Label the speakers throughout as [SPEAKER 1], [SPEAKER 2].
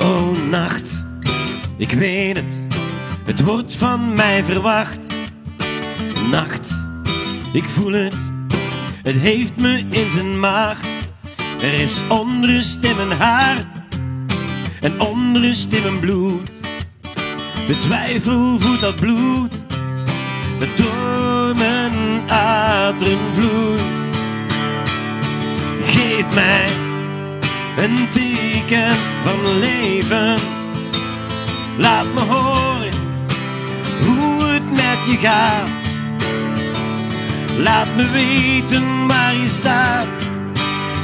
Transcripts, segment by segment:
[SPEAKER 1] Oh, nacht. Ik weet het, het wordt van mij verwacht. Nacht, ik voel het, het heeft me in zijn maag. Er is onrust in mijn haar en onrust in mijn bloed. De twijfel voedt dat bloed, dat door mijn aderen vloeit. Geef mij een teken van leven. Laat me horen hoe het met je gaat. Laat me weten waar je staat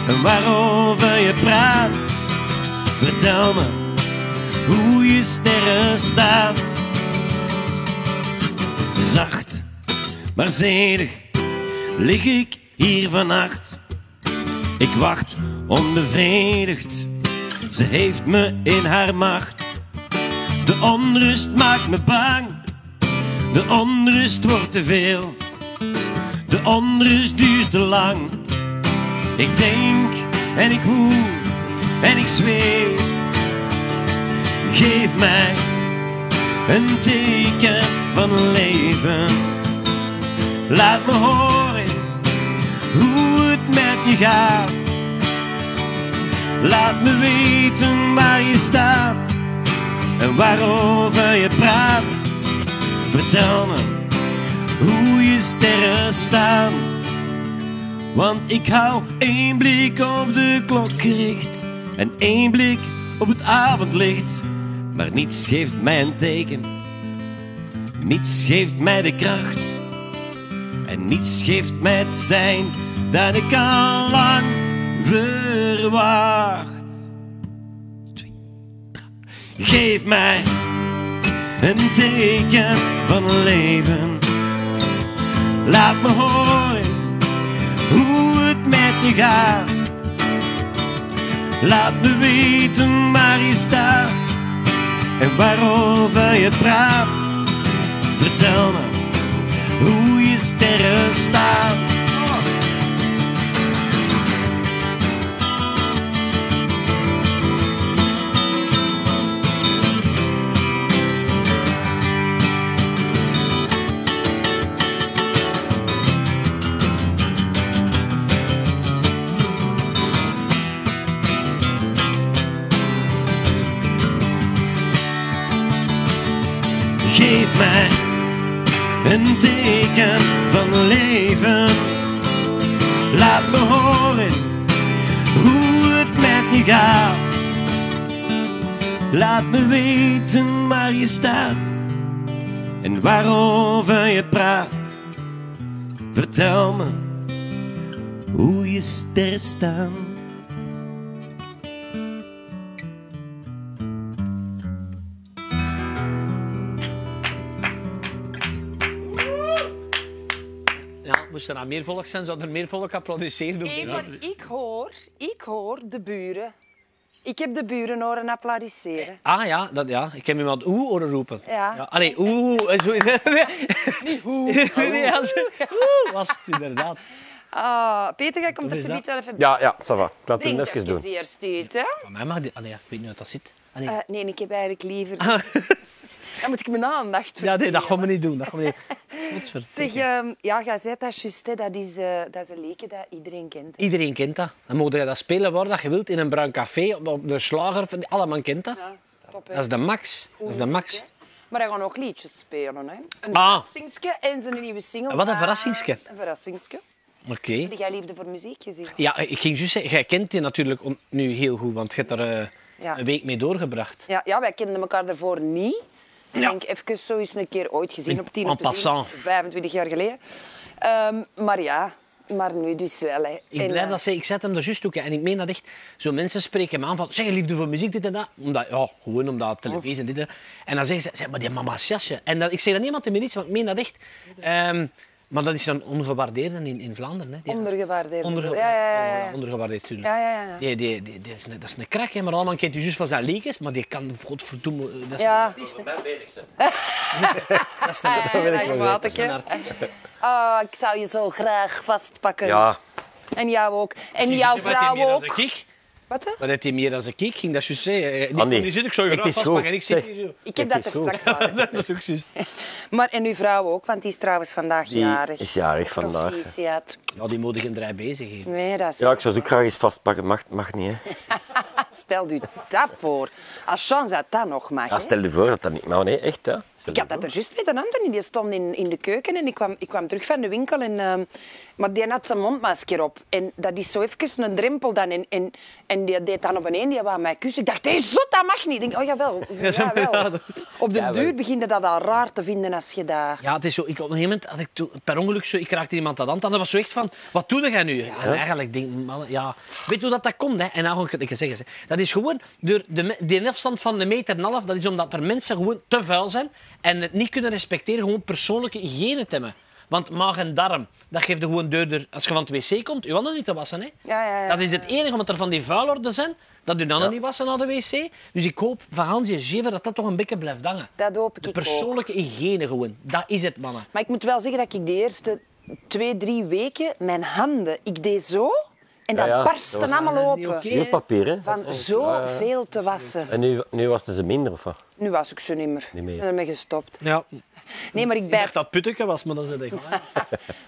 [SPEAKER 1] en waarover je praat. Vertel me hoe je sterren staan. Zacht, maar zedig lig ik hier vannacht. Ik wacht onbevredigd, ze heeft me in haar macht. De onrust maakt me bang, de onrust wordt te veel. De onrust duurt te lang. Ik denk en ik woel en ik zweef. Geef mij een teken van leven. Laat me horen hoe het met je gaat. Laat me weten waar je staat en waarover je praat. Vertel me hoe je sterren staan. Want ik hou één blik op de klok gericht en één blik op het avondlicht. Maar niets geeft mij een teken, niets geeft mij de kracht en niets geeft mij het zijn dat ik al lang verwacht. Twee, drie. Geef mij een teken van leven. Laat me horen hoe het met je gaat. Laat me weten waar je staat en waarover je praat. Vertel me hoe je sterren staan. Geef mij een teken van leven. Laat me horen hoe het met je gaat. Laat me weten waar je staat en waarover je praat. Vertel me hoe je sterren staan.
[SPEAKER 2] Ja, moest er nou meer volk zijn, zou er meer volk applaudisseren.
[SPEAKER 3] Nee, maar ik hoor, ik hoor de buren. Ik heb de buren horen applaudisseren.
[SPEAKER 2] Ah ja, dat, ja, ik heb iemand oeh horen roepen.
[SPEAKER 3] Ja.
[SPEAKER 2] Allee, oeh. en Zo, nee, nee. Nee, ja, zo, oeh was het inderdaad.
[SPEAKER 3] Ah, Peter, jij komt er
[SPEAKER 2] is
[SPEAKER 3] zo
[SPEAKER 2] dat?
[SPEAKER 3] niet wel even
[SPEAKER 4] Ah, Ja, ja, ça va. Ik laat
[SPEAKER 3] Drink
[SPEAKER 4] hem
[SPEAKER 3] dat
[SPEAKER 4] even
[SPEAKER 3] je
[SPEAKER 4] doen.
[SPEAKER 3] eerst uit, hè?
[SPEAKER 2] Van mij mag die... Allee, ja, ik weet niet hoe dat zit. Allee.
[SPEAKER 3] Eh, nee, ik heb eigenlijk liever...
[SPEAKER 2] Ah.
[SPEAKER 3] Dan moet ik mijn aandacht
[SPEAKER 2] ja, nee, dat
[SPEAKER 3] verdelen.
[SPEAKER 2] gaan we niet doen. Dat gaan we niet...
[SPEAKER 3] Zeg,
[SPEAKER 2] Godverdikke.
[SPEAKER 3] ehm, ja, jij zei dat juist, hè. Dat is, eh, dat is een leken dat iedereen kent. hè.
[SPEAKER 2] Iedereen kent dat. Dan mogen je dat spelen waar dat je wilt, in een bruin café, op- op de slager. van- Allemaal kent dat.
[SPEAKER 3] Ja, top, hè.
[SPEAKER 2] Dat is de max. Dat is de max.
[SPEAKER 3] Maar hij gaat nog liedjes spelen, hè. Een
[SPEAKER 2] Ah.
[SPEAKER 3] verrassingske en zijn nieuwe single. Ah,
[SPEAKER 2] Wat een verrassingske.
[SPEAKER 3] Een verrassingske.
[SPEAKER 2] Oké.
[SPEAKER 3] Heb jij liefde voor muziek gezien?
[SPEAKER 2] Ja, ik ging juist zeggen, jij kent die natuurlijk on- nu heel goed, want je hebt er eh,
[SPEAKER 3] Ja.
[SPEAKER 2] een week mee doorgebracht.
[SPEAKER 3] Ja, ja, wij kenden elkaar daarvoor niet. Ik denk even zo eens een keer ooit gezien
[SPEAKER 2] In-
[SPEAKER 3] op 10
[SPEAKER 2] en
[SPEAKER 3] op de zin,
[SPEAKER 2] passant.
[SPEAKER 3] 25 jaar geleden. Ehm, maar ja, maar nu dus wel. Hè.
[SPEAKER 2] Ik
[SPEAKER 3] En,
[SPEAKER 2] blijf
[SPEAKER 3] eh,
[SPEAKER 2] dat zeggen, ik zet hem er juist ook. hè. En ik meen dat echt, zo mensen spreken me aan van, zeg liefde voor muziek, dit en dat. Omdat, ja, gewoon omdat televisie en dit en dat. En dan zeggen ze, zeg maar die mama's jasje. En dat, ik zeg dat niemand in iets, want ik meen dat echt. Ehm, maar dat is een ongewaardeerde in, in Vlaanderen. Hè, die
[SPEAKER 3] Ondergewaardeerd.
[SPEAKER 2] Onderge-
[SPEAKER 3] Ja, ja, ja, ja.
[SPEAKER 2] Oh, voilà, Ondergewaardeerd natuurlijk.
[SPEAKER 3] Ja, ja, ja.
[SPEAKER 2] Die, die, die, die is een, dat is een krak, hè, maar allemaal kent u juist van zijn leekjes, maar die kan, godverdomme, dat is
[SPEAKER 3] Ja.
[SPEAKER 2] een artiest. hè. Dat is een-
[SPEAKER 3] Ah,
[SPEAKER 4] wil ik wel
[SPEAKER 3] wat
[SPEAKER 2] dat is
[SPEAKER 3] ik,
[SPEAKER 2] een
[SPEAKER 3] hè.
[SPEAKER 2] artiest.
[SPEAKER 3] Ah, ik zou je zo graag vastpakken.
[SPEAKER 4] Ja,
[SPEAKER 3] En jou ook. En jouw vrouw ook.
[SPEAKER 2] Ik.
[SPEAKER 3] Wat? hè?
[SPEAKER 2] Maar dat hij meer als ik ik ging dat juist Eh, zeggen.
[SPEAKER 4] Andy,
[SPEAKER 2] Die zit ik zo graag
[SPEAKER 4] het is
[SPEAKER 2] vastpakken
[SPEAKER 4] goed.
[SPEAKER 2] en ik zit
[SPEAKER 4] Zeg.
[SPEAKER 2] hier zo.
[SPEAKER 3] Ik heb dat er
[SPEAKER 4] is goed.
[SPEAKER 3] straks laten.
[SPEAKER 2] Dat is ook juist.
[SPEAKER 3] Maar en uw vrouw ook, want die is trouwens vandaag
[SPEAKER 4] Die
[SPEAKER 3] jarig.
[SPEAKER 4] is jarig vandaag.
[SPEAKER 3] Proficiat.
[SPEAKER 2] Ja, die moet ik een draai bezig geven.
[SPEAKER 3] Nee, dat is...
[SPEAKER 4] Ja, ik zou ze ook graag eens vastpakken. Mag, mag niet, hè.
[SPEAKER 3] Stel u dat voor. Als chance dat dat nog mag.
[SPEAKER 4] Ja,
[SPEAKER 3] hè.
[SPEAKER 4] stel je voor dat dat niet... Maar nee, echt, hè. Stel
[SPEAKER 3] Ik had dat er juist met een ander in. Die stond in, in de keuken en ik kwam, ik kwam terug van de winkel. En, ehm, maar die had zijn mondmasker op. En dat is zo even een drempel dan. En, en, en die deed dan op een die wou mij kussen. Ik dacht, hé, zot, dat mag niet. Ik denk, oh jawel, jawel.
[SPEAKER 2] ja, dat-
[SPEAKER 3] Op de
[SPEAKER 4] Ja, wel.
[SPEAKER 3] duur begint je dat al raar te vinden als je dat...
[SPEAKER 2] Ja, het is zo. Ik, op een gegeven moment had ik toen per ongeluk zo, ik raakte iemand aan de hand. En dat was zo echt van, wat doe jij nu? En eigenlijk denk ik, man, ja, weet je hoe dat, dat komt? Hè? En dan ga ik het een keer zeggen. ze. Dat is gewoon, door de, me- die afstand van een meter en een half, dat is omdat er mensen gewoon te vuil zijn en het niet kunnen respecteren, gewoon persoonlijke hygiëne te hebben. Want maag en darm, dat geeft er gewoon deurder. Als je van het wc komt, je handen niet te wassen. Hè?
[SPEAKER 3] Ja, ja, ja.
[SPEAKER 2] Dat is het enige, omdat er van die vuilorden zijn, dat je handen niet wassen aan de wc. Dus ik hoop van Hans en Jever dat dat toch een beetje blijft hangen.
[SPEAKER 3] Dat hoop ik
[SPEAKER 2] De
[SPEAKER 3] ook.
[SPEAKER 2] persoonlijke hygiëne gewoon. Dat is het, mannen.
[SPEAKER 3] Maar ik moet wel zeggen dat ik de eerste twee, drie weken mijn handen... Ik deed zo en dat
[SPEAKER 4] Ja, ja,
[SPEAKER 3] barsten
[SPEAKER 4] dat was-
[SPEAKER 3] allemaal
[SPEAKER 2] Dat is
[SPEAKER 3] open.
[SPEAKER 2] niet oké.
[SPEAKER 4] Geen papier, hè.
[SPEAKER 3] Van zoveel te wassen.
[SPEAKER 4] En nu, nu was het ze minder, of wat?
[SPEAKER 3] Nu was ik ze niet meer.
[SPEAKER 4] Niet meer.
[SPEAKER 3] Ik ben ermee gestopt.
[SPEAKER 2] Ja,
[SPEAKER 3] Nee, maar ik
[SPEAKER 2] ik dacht
[SPEAKER 3] bijt,
[SPEAKER 2] dat putteke was, maar dat is het echt.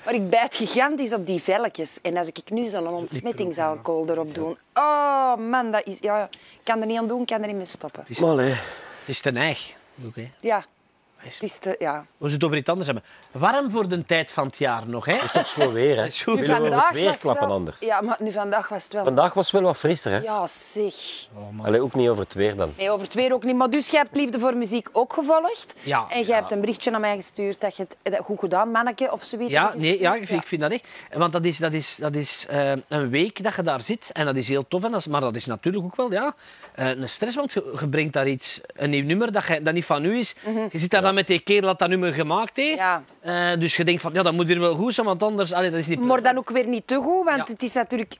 [SPEAKER 3] maar ik bijt gigantisch op die velletjes. En als ik nu zo'n ontsmettingsalcohol erop doe... Oh man, dat is... Ja, ik kan er niet aan doen, ik kan er niet mee stoppen.
[SPEAKER 4] Maar, hè.
[SPEAKER 2] Het is ten eigen. Oké.
[SPEAKER 3] Ja, het is te... Ja.
[SPEAKER 2] We zullen het over iets anders hebben. Warm voor de tijd van het jaar nog, hè?
[SPEAKER 4] Het is gewoon weer, hè.
[SPEAKER 2] is goed.
[SPEAKER 4] Willen we over het weer
[SPEAKER 3] was
[SPEAKER 4] klappen
[SPEAKER 3] wel...
[SPEAKER 4] anders?
[SPEAKER 3] Ja, maar nu vandaag was het wel...
[SPEAKER 4] Vandaag was het wel wat frisser, hè.
[SPEAKER 3] Ja, zeg.
[SPEAKER 4] Allee, ook niet over het weer dan.
[SPEAKER 3] Nee, over het weer ook niet. Maar dus jij hebt Liefde voor Muziek ook gevolgd.
[SPEAKER 2] Ja.
[SPEAKER 3] En jij hebt een berichtje naar mij gestuurd dat je het dat- goed gedaan, manneke, of zoiets.
[SPEAKER 2] Ja,
[SPEAKER 3] hebt
[SPEAKER 2] nee, ja, ik,
[SPEAKER 3] gestuurd.
[SPEAKER 2] vind, ik vind dat echt. Want dat is, dat is, dat is eh, een week dat je daar zit en dat is heel tof. En dat is, maar dat is natuurlijk ook wel ja, eh, een stress, want je, je brengt daar iets, een nieuw nummer dat, je, dat niet van u is. Je zit daar dan met die kerel dat dat nummer gemaakt heeft.
[SPEAKER 3] Ja.
[SPEAKER 2] Eh, dus je denkt van, ja, dat moet hier wel goed zijn, want anders allee, dat is niet
[SPEAKER 3] Maar dan ook weer niet te goed, want
[SPEAKER 2] Ja.
[SPEAKER 3] het is natuurlijk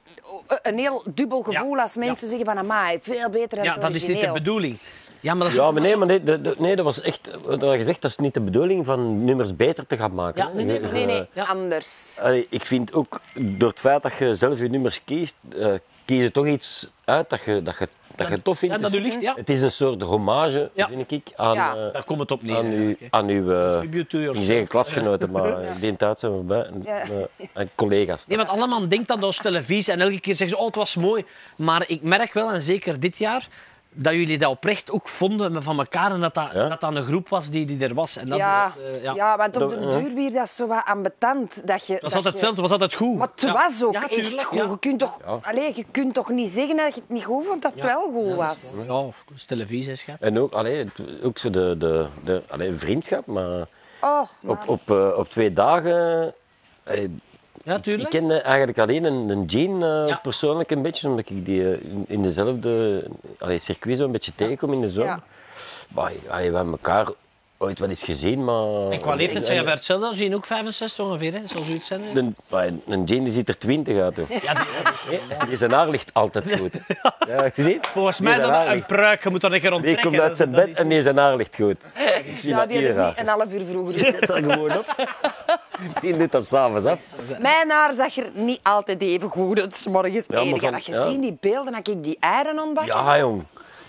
[SPEAKER 3] een heel dubbel gevoel als mensen zeggen van amai, veel beter dan
[SPEAKER 2] Ja,
[SPEAKER 3] het
[SPEAKER 2] dat is niet de
[SPEAKER 3] origineel."
[SPEAKER 2] bedoeling. Ja, maar dat is
[SPEAKER 4] Ja, maar nee, maar nee, de- de- nee, dat was echt... Dat had gezegd, dat is niet de bedoeling van nummers beter te gaan maken.
[SPEAKER 2] Ja,
[SPEAKER 4] hè.
[SPEAKER 2] nee, nee,
[SPEAKER 4] Je-
[SPEAKER 3] Nee, nee,
[SPEAKER 4] je-
[SPEAKER 2] Ja.
[SPEAKER 3] anders.
[SPEAKER 4] Allee, ik vind ook, door het feit dat je zelf je nummers kiest, eh kies je toch iets uit dat je, dat je, dat je tof vindt. Dus
[SPEAKER 2] Ja, dat u ligt, ja.
[SPEAKER 4] Het is een soort hommage,
[SPEAKER 2] Ja.
[SPEAKER 4] vind ik, aan,
[SPEAKER 3] Ja.
[SPEAKER 4] eh,
[SPEAKER 2] Daar komt het op neer.
[SPEAKER 4] aan, uw,
[SPEAKER 2] eigenlijk, hè.
[SPEAKER 4] aan uw eh,
[SPEAKER 2] Tribute to
[SPEAKER 4] ik
[SPEAKER 2] yourself.
[SPEAKER 4] zeg klasgenoten, maar in die tijd zijn we bij, en,
[SPEAKER 3] Ja.
[SPEAKER 4] eh, en collega's.
[SPEAKER 2] Nee, want allemaal denkt dat als televisie en elke keer zeggen ze, oh, het was mooi. Maar ik merk wel, en zeker dit jaar, dat jullie dat oprecht ook vonden van elkaar en dat dat,
[SPEAKER 4] Ja.
[SPEAKER 2] dat, dat een groep was die, die er was. En dat
[SPEAKER 3] Ja.
[SPEAKER 2] is, eh, ja.
[SPEAKER 3] ja, want op de
[SPEAKER 4] Dat- ja.
[SPEAKER 3] duur weer dat is zo wat ambetant. Dat je,
[SPEAKER 2] Het was altijd
[SPEAKER 3] je-
[SPEAKER 2] hetzelfde, het was altijd goed.
[SPEAKER 3] Maar het
[SPEAKER 2] Ja.
[SPEAKER 3] was ook
[SPEAKER 2] Ja,
[SPEAKER 3] echt
[SPEAKER 2] tuurlijk,
[SPEAKER 3] goed.
[SPEAKER 2] ja.
[SPEAKER 3] Je, kunt toch, allee, je kunt toch niet zeggen dat je het niet goed vond, dat het wel goed was.
[SPEAKER 2] Ja, dat is televisie, schat.
[SPEAKER 4] En ook, allee, het- ook zo de, de, de allee, vriendschap, maar
[SPEAKER 3] Oh,
[SPEAKER 4] op, op, eh, op twee dagen... allee,
[SPEAKER 2] Ja,
[SPEAKER 4] Ik
[SPEAKER 2] tuurlijk.
[SPEAKER 4] kende eigenlijk alleen een, een Jean eh,
[SPEAKER 2] Ja.
[SPEAKER 4] persoonlijk een beetje, omdat ik die eh, in, in dezelfde allee, circuit zo een beetje tegenkom in de zomer.
[SPEAKER 3] Ja.
[SPEAKER 4] Maar, allee, we hebben elkaar ooit wel eens gezien, maar...
[SPEAKER 2] En qua leeftijd
[SPEAKER 4] En-
[SPEAKER 2] zijn je hetzelfde als Jean, ook 65 ongeveer, hè? zal zoiets zijn. hè?
[SPEAKER 4] Een, maar een- een Jean die ziet er twintig uit. hoor. Nee, die zijn haar ligt altijd goed. hè. Ja, gezien?
[SPEAKER 2] Volgens
[SPEAKER 4] Die
[SPEAKER 2] mij is
[SPEAKER 4] zijn
[SPEAKER 2] dat
[SPEAKER 4] haar
[SPEAKER 2] een
[SPEAKER 4] ligt-
[SPEAKER 2] pruik, je moet dat een keer
[SPEAKER 4] Die
[SPEAKER 2] onttrekken.
[SPEAKER 4] komt uit
[SPEAKER 2] hè.
[SPEAKER 4] zijn
[SPEAKER 2] Dat
[SPEAKER 4] bed
[SPEAKER 2] is-
[SPEAKER 4] en die zijn haar ligt goed.
[SPEAKER 3] zou die
[SPEAKER 4] hier
[SPEAKER 3] er niet
[SPEAKER 4] raar.
[SPEAKER 3] een half uur vroeger gezien
[SPEAKER 4] Dat is gewoon op. Die doet dat s'avonds af.
[SPEAKER 3] Mijn haar zag er niet altijd even goed uit, 's morgens.
[SPEAKER 4] maar
[SPEAKER 3] Ja, je
[SPEAKER 4] van-
[SPEAKER 3] had
[SPEAKER 4] ja.
[SPEAKER 3] gezien die beelden, dat ik die eieren ontbakken.
[SPEAKER 4] Ja, jong.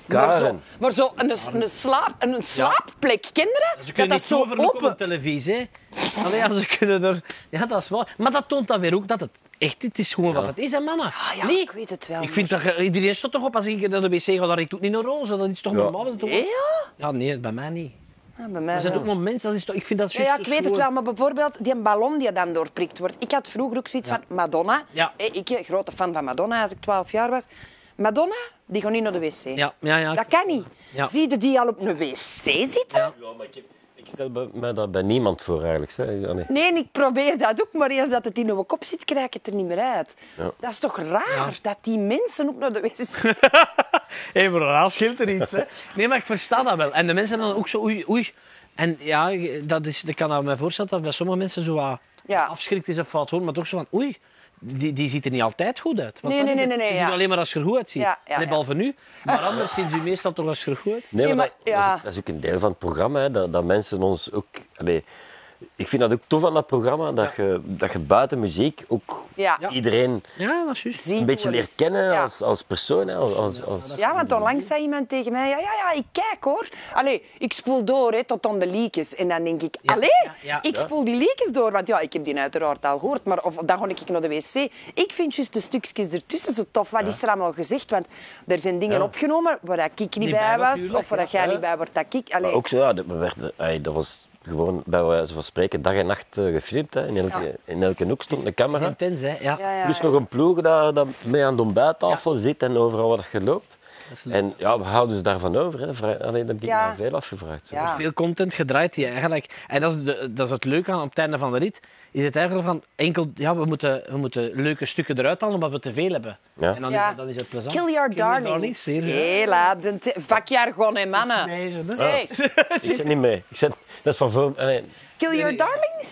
[SPEAKER 3] Maar zo,
[SPEAKER 4] Karen.
[SPEAKER 3] maar zo een, een, slaap, een slaapplek, kinderen,
[SPEAKER 2] Ze
[SPEAKER 3] dat
[SPEAKER 2] kunnen
[SPEAKER 3] dat
[SPEAKER 2] niet
[SPEAKER 3] zo
[SPEAKER 2] overlopen
[SPEAKER 3] open...
[SPEAKER 2] op televisie. hè. Allee, ja, ze kunnen er... Ja, dat is waar. Maar dat toont dan weer ook dat het echt het is gewoon wat het is, hè, mannen.
[SPEAKER 3] Ah ja, ik weet het wel,
[SPEAKER 2] Ik vind dat... je- Iedereen staat toch op als ik naar de wc ga, daar ik ook niet een roze. Dat is toch
[SPEAKER 4] Ja.
[SPEAKER 2] normaal? Dat is toch-
[SPEAKER 3] Ja,
[SPEAKER 2] Ja, nee, bij mij niet.
[SPEAKER 3] Ja, bij mij
[SPEAKER 2] Er zijn
[SPEAKER 3] wel.
[SPEAKER 2] ook momenten, dat is toch... Ik vind dat
[SPEAKER 3] Ja,
[SPEAKER 2] juist
[SPEAKER 3] ja, ik weet het
[SPEAKER 2] gewoon-
[SPEAKER 3] wel, maar bijvoorbeeld die ballon die dan doorprikt wordt. Ik had vroeger ook zoiets van Madonna.
[SPEAKER 2] Ja.
[SPEAKER 3] Hé, Ik ben grote fan van Madonna als ik 12 jaar was. Madonna, die gaat niet naar de wc.
[SPEAKER 2] Ja, ja, ja.
[SPEAKER 3] Dat kan niet.
[SPEAKER 2] Ja.
[SPEAKER 3] Zie je die al op een wc zitten?
[SPEAKER 4] Ja, maar ik, heb- ik stel bij- mij dat bij niemand voor eigenlijk. Hè. Ah, Allee.
[SPEAKER 3] Nee, en ik probeer dat ook, maar eens dat het in uw kop zit, krijg ik het er niet meer uit. Dat is toch raar, dat die mensen ook naar de wc zitten?
[SPEAKER 2] Hé, maar raar scheelt er iets, hè. Nee, maar ik versta dat wel. En de mensen dan ook zo... Oei, oei. En ja, dat is, ik kan dat me voorstellen dat bij sommige mensen zo wat
[SPEAKER 3] Ja.
[SPEAKER 2] afschrikt is of fout hoor, maar toch zo van... Oei, die, die ziet er niet altijd goed uit. Want
[SPEAKER 3] Nee,
[SPEAKER 2] dat
[SPEAKER 3] nee,
[SPEAKER 2] is het.
[SPEAKER 3] nee, nee,
[SPEAKER 2] Ze
[SPEAKER 3] nee,
[SPEAKER 2] zien
[SPEAKER 3] ja.
[SPEAKER 2] alleen maar als je er goed uitziet.
[SPEAKER 3] Ja, ja,
[SPEAKER 2] Allee,
[SPEAKER 3] ja.
[SPEAKER 2] Behalve nu. Maar anders zien ze je meestal toch als je er goed uitziet.
[SPEAKER 4] Nee,
[SPEAKER 3] Nee,
[SPEAKER 4] maar,
[SPEAKER 3] maar-
[SPEAKER 4] dat, dat is
[SPEAKER 3] ja.
[SPEAKER 4] ook, dat is ook een deel van het programma, hè, dat, dat mensen ons ook... Allee, ik vind dat ook tof aan dat programma, dat, je, dat je buiten muziek ook
[SPEAKER 3] Ja. Ja.
[SPEAKER 4] iedereen
[SPEAKER 2] Ja, dat is juist.
[SPEAKER 3] Zie
[SPEAKER 4] een beetje
[SPEAKER 3] hoe het
[SPEAKER 4] leert
[SPEAKER 3] is.
[SPEAKER 4] kennen
[SPEAKER 3] Ja.
[SPEAKER 4] als, als persoon. hè, Als, als, als...
[SPEAKER 3] Ja, want onlangs zei iemand tegen mij, ja, ja, ja, ik kijk hoor. Allee, ik spoel door hè, tot aan de liedjes. En dan denk ik, allee,
[SPEAKER 2] ja, ja.
[SPEAKER 3] ik
[SPEAKER 2] Ja.
[SPEAKER 3] spoel die liedjes door. Want ja, ik heb die uiteraard al gehoord, maar of, dan ga ik naar de wc. Ik vind juist de stukjes ertussen zo tof. Wat is er allemaal gezegd? Want er zijn dingen opgenomen waar ik niet bij
[SPEAKER 2] bij was,
[SPEAKER 3] was,
[SPEAKER 2] tuurlijk,
[SPEAKER 3] of waar
[SPEAKER 2] ja.
[SPEAKER 3] jij niet bij wordt, dat ik... Allee,
[SPEAKER 4] Maar ook zo, ja, dat, we werden, ey, dat was gewoon bij wijze van spreken dag en nacht eh, gefilmd. Hè. In, elke, in elke hoek stond een
[SPEAKER 2] Dat is
[SPEAKER 4] camera.
[SPEAKER 2] intens, hè? Ja.
[SPEAKER 3] ja, ja,
[SPEAKER 4] Plus
[SPEAKER 3] ja.
[SPEAKER 4] nog een ploeg daar dat mee aan de ontbijttafel zit en overal wat je loopt. En ja, we houden dus daarvan over. Hè. Vrij, allee, dat heb ik
[SPEAKER 3] Ja.
[SPEAKER 4] me veel afgevraagd. zo.
[SPEAKER 3] Ja.
[SPEAKER 2] Veel content gedraaid die eigenlijk. En dat is, de, dat is het leuke aan op het einde van de rit. Is het eigenlijk van enkel, ja, we moeten, we moeten leuke stukken eruit halen omdat we te veel hebben.
[SPEAKER 4] Ja.
[SPEAKER 2] En dan, is
[SPEAKER 3] Ja.
[SPEAKER 2] het, dan is het plezant.
[SPEAKER 3] Kill your darlings.
[SPEAKER 2] darlings, hier, ja.
[SPEAKER 3] Hela, de te- vakjargon, hè, mannen.
[SPEAKER 2] Nee, Oh. zo, hè.
[SPEAKER 3] Zeg,
[SPEAKER 4] Ik zit niet mee. Ik zit, dat is van voor, allee,
[SPEAKER 3] Kill Your Darlings.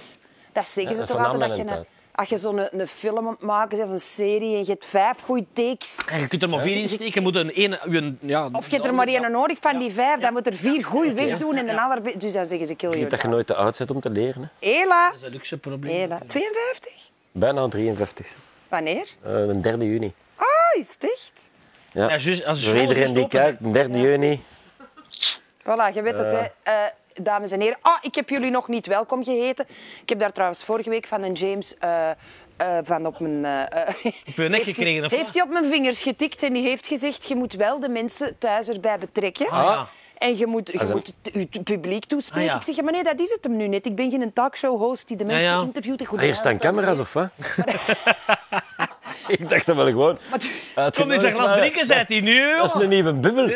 [SPEAKER 3] Dat zeggen ze
[SPEAKER 4] Ja,
[SPEAKER 3] toch
[SPEAKER 4] van
[SPEAKER 3] altijd dat je,
[SPEAKER 4] Amelen
[SPEAKER 3] een- als je zo'n een film aan het maken bent of een serie en je hebt vijf goede takes.
[SPEAKER 2] En je kunt er maar vier in steken. Je moet een ene. een- ja,
[SPEAKER 3] Of je hebt er maar één nodig van die vijf, dan moet er vier goed wegdoen en een ander... be- Dus dan zeggen ze kill
[SPEAKER 4] ik
[SPEAKER 3] your
[SPEAKER 4] denk dat
[SPEAKER 3] darlings.
[SPEAKER 4] je nooit te oud bent om te leren. Hè.
[SPEAKER 3] Hela,
[SPEAKER 2] Dat is een luxe probleem.
[SPEAKER 3] hela. 52?
[SPEAKER 4] Bijna 53.
[SPEAKER 3] Wanneer?
[SPEAKER 4] Eh, de 3 juni.
[SPEAKER 3] Ah, is het echt?
[SPEAKER 4] Ja.
[SPEAKER 2] Ja, juist, als de
[SPEAKER 4] Voor
[SPEAKER 2] school
[SPEAKER 4] iedereen die
[SPEAKER 2] gestopt is,
[SPEAKER 4] kijkt, 3 juni.
[SPEAKER 3] Voilà, je weet het, hè. Eh, dames en heren. Ah, ik heb jullie nog niet welkom geheten. Ik heb daar trouwens vorige week van een James... eh, eh, van op mijn... eh, eh,
[SPEAKER 2] je nek
[SPEAKER 3] heeft hij-
[SPEAKER 2] gekregen, of wat?
[SPEAKER 3] Heeft hij op mijn vingers getikt en die heeft gezegd... Je moet wel de mensen thuis erbij betrekken.
[SPEAKER 2] Ah, ja.
[SPEAKER 3] En je moet, je
[SPEAKER 4] een-
[SPEAKER 3] moet het, u- het publiek toespreken.
[SPEAKER 2] Ah, ja.
[SPEAKER 3] Ik zeg, maar nee, dat is het hem nu net. Ik ben geen talkshow-host die de mensen
[SPEAKER 2] ja.
[SPEAKER 3] interviewt. en goed
[SPEAKER 4] Ah, Hier staan
[SPEAKER 3] uitlegt.
[SPEAKER 4] camera's of wat? ik dacht dat wel gewoon.
[SPEAKER 2] Kom eens een glas drinken, zei hij nu.
[SPEAKER 4] Dat is
[SPEAKER 2] jongen.
[SPEAKER 4] een nieuwe bubbel.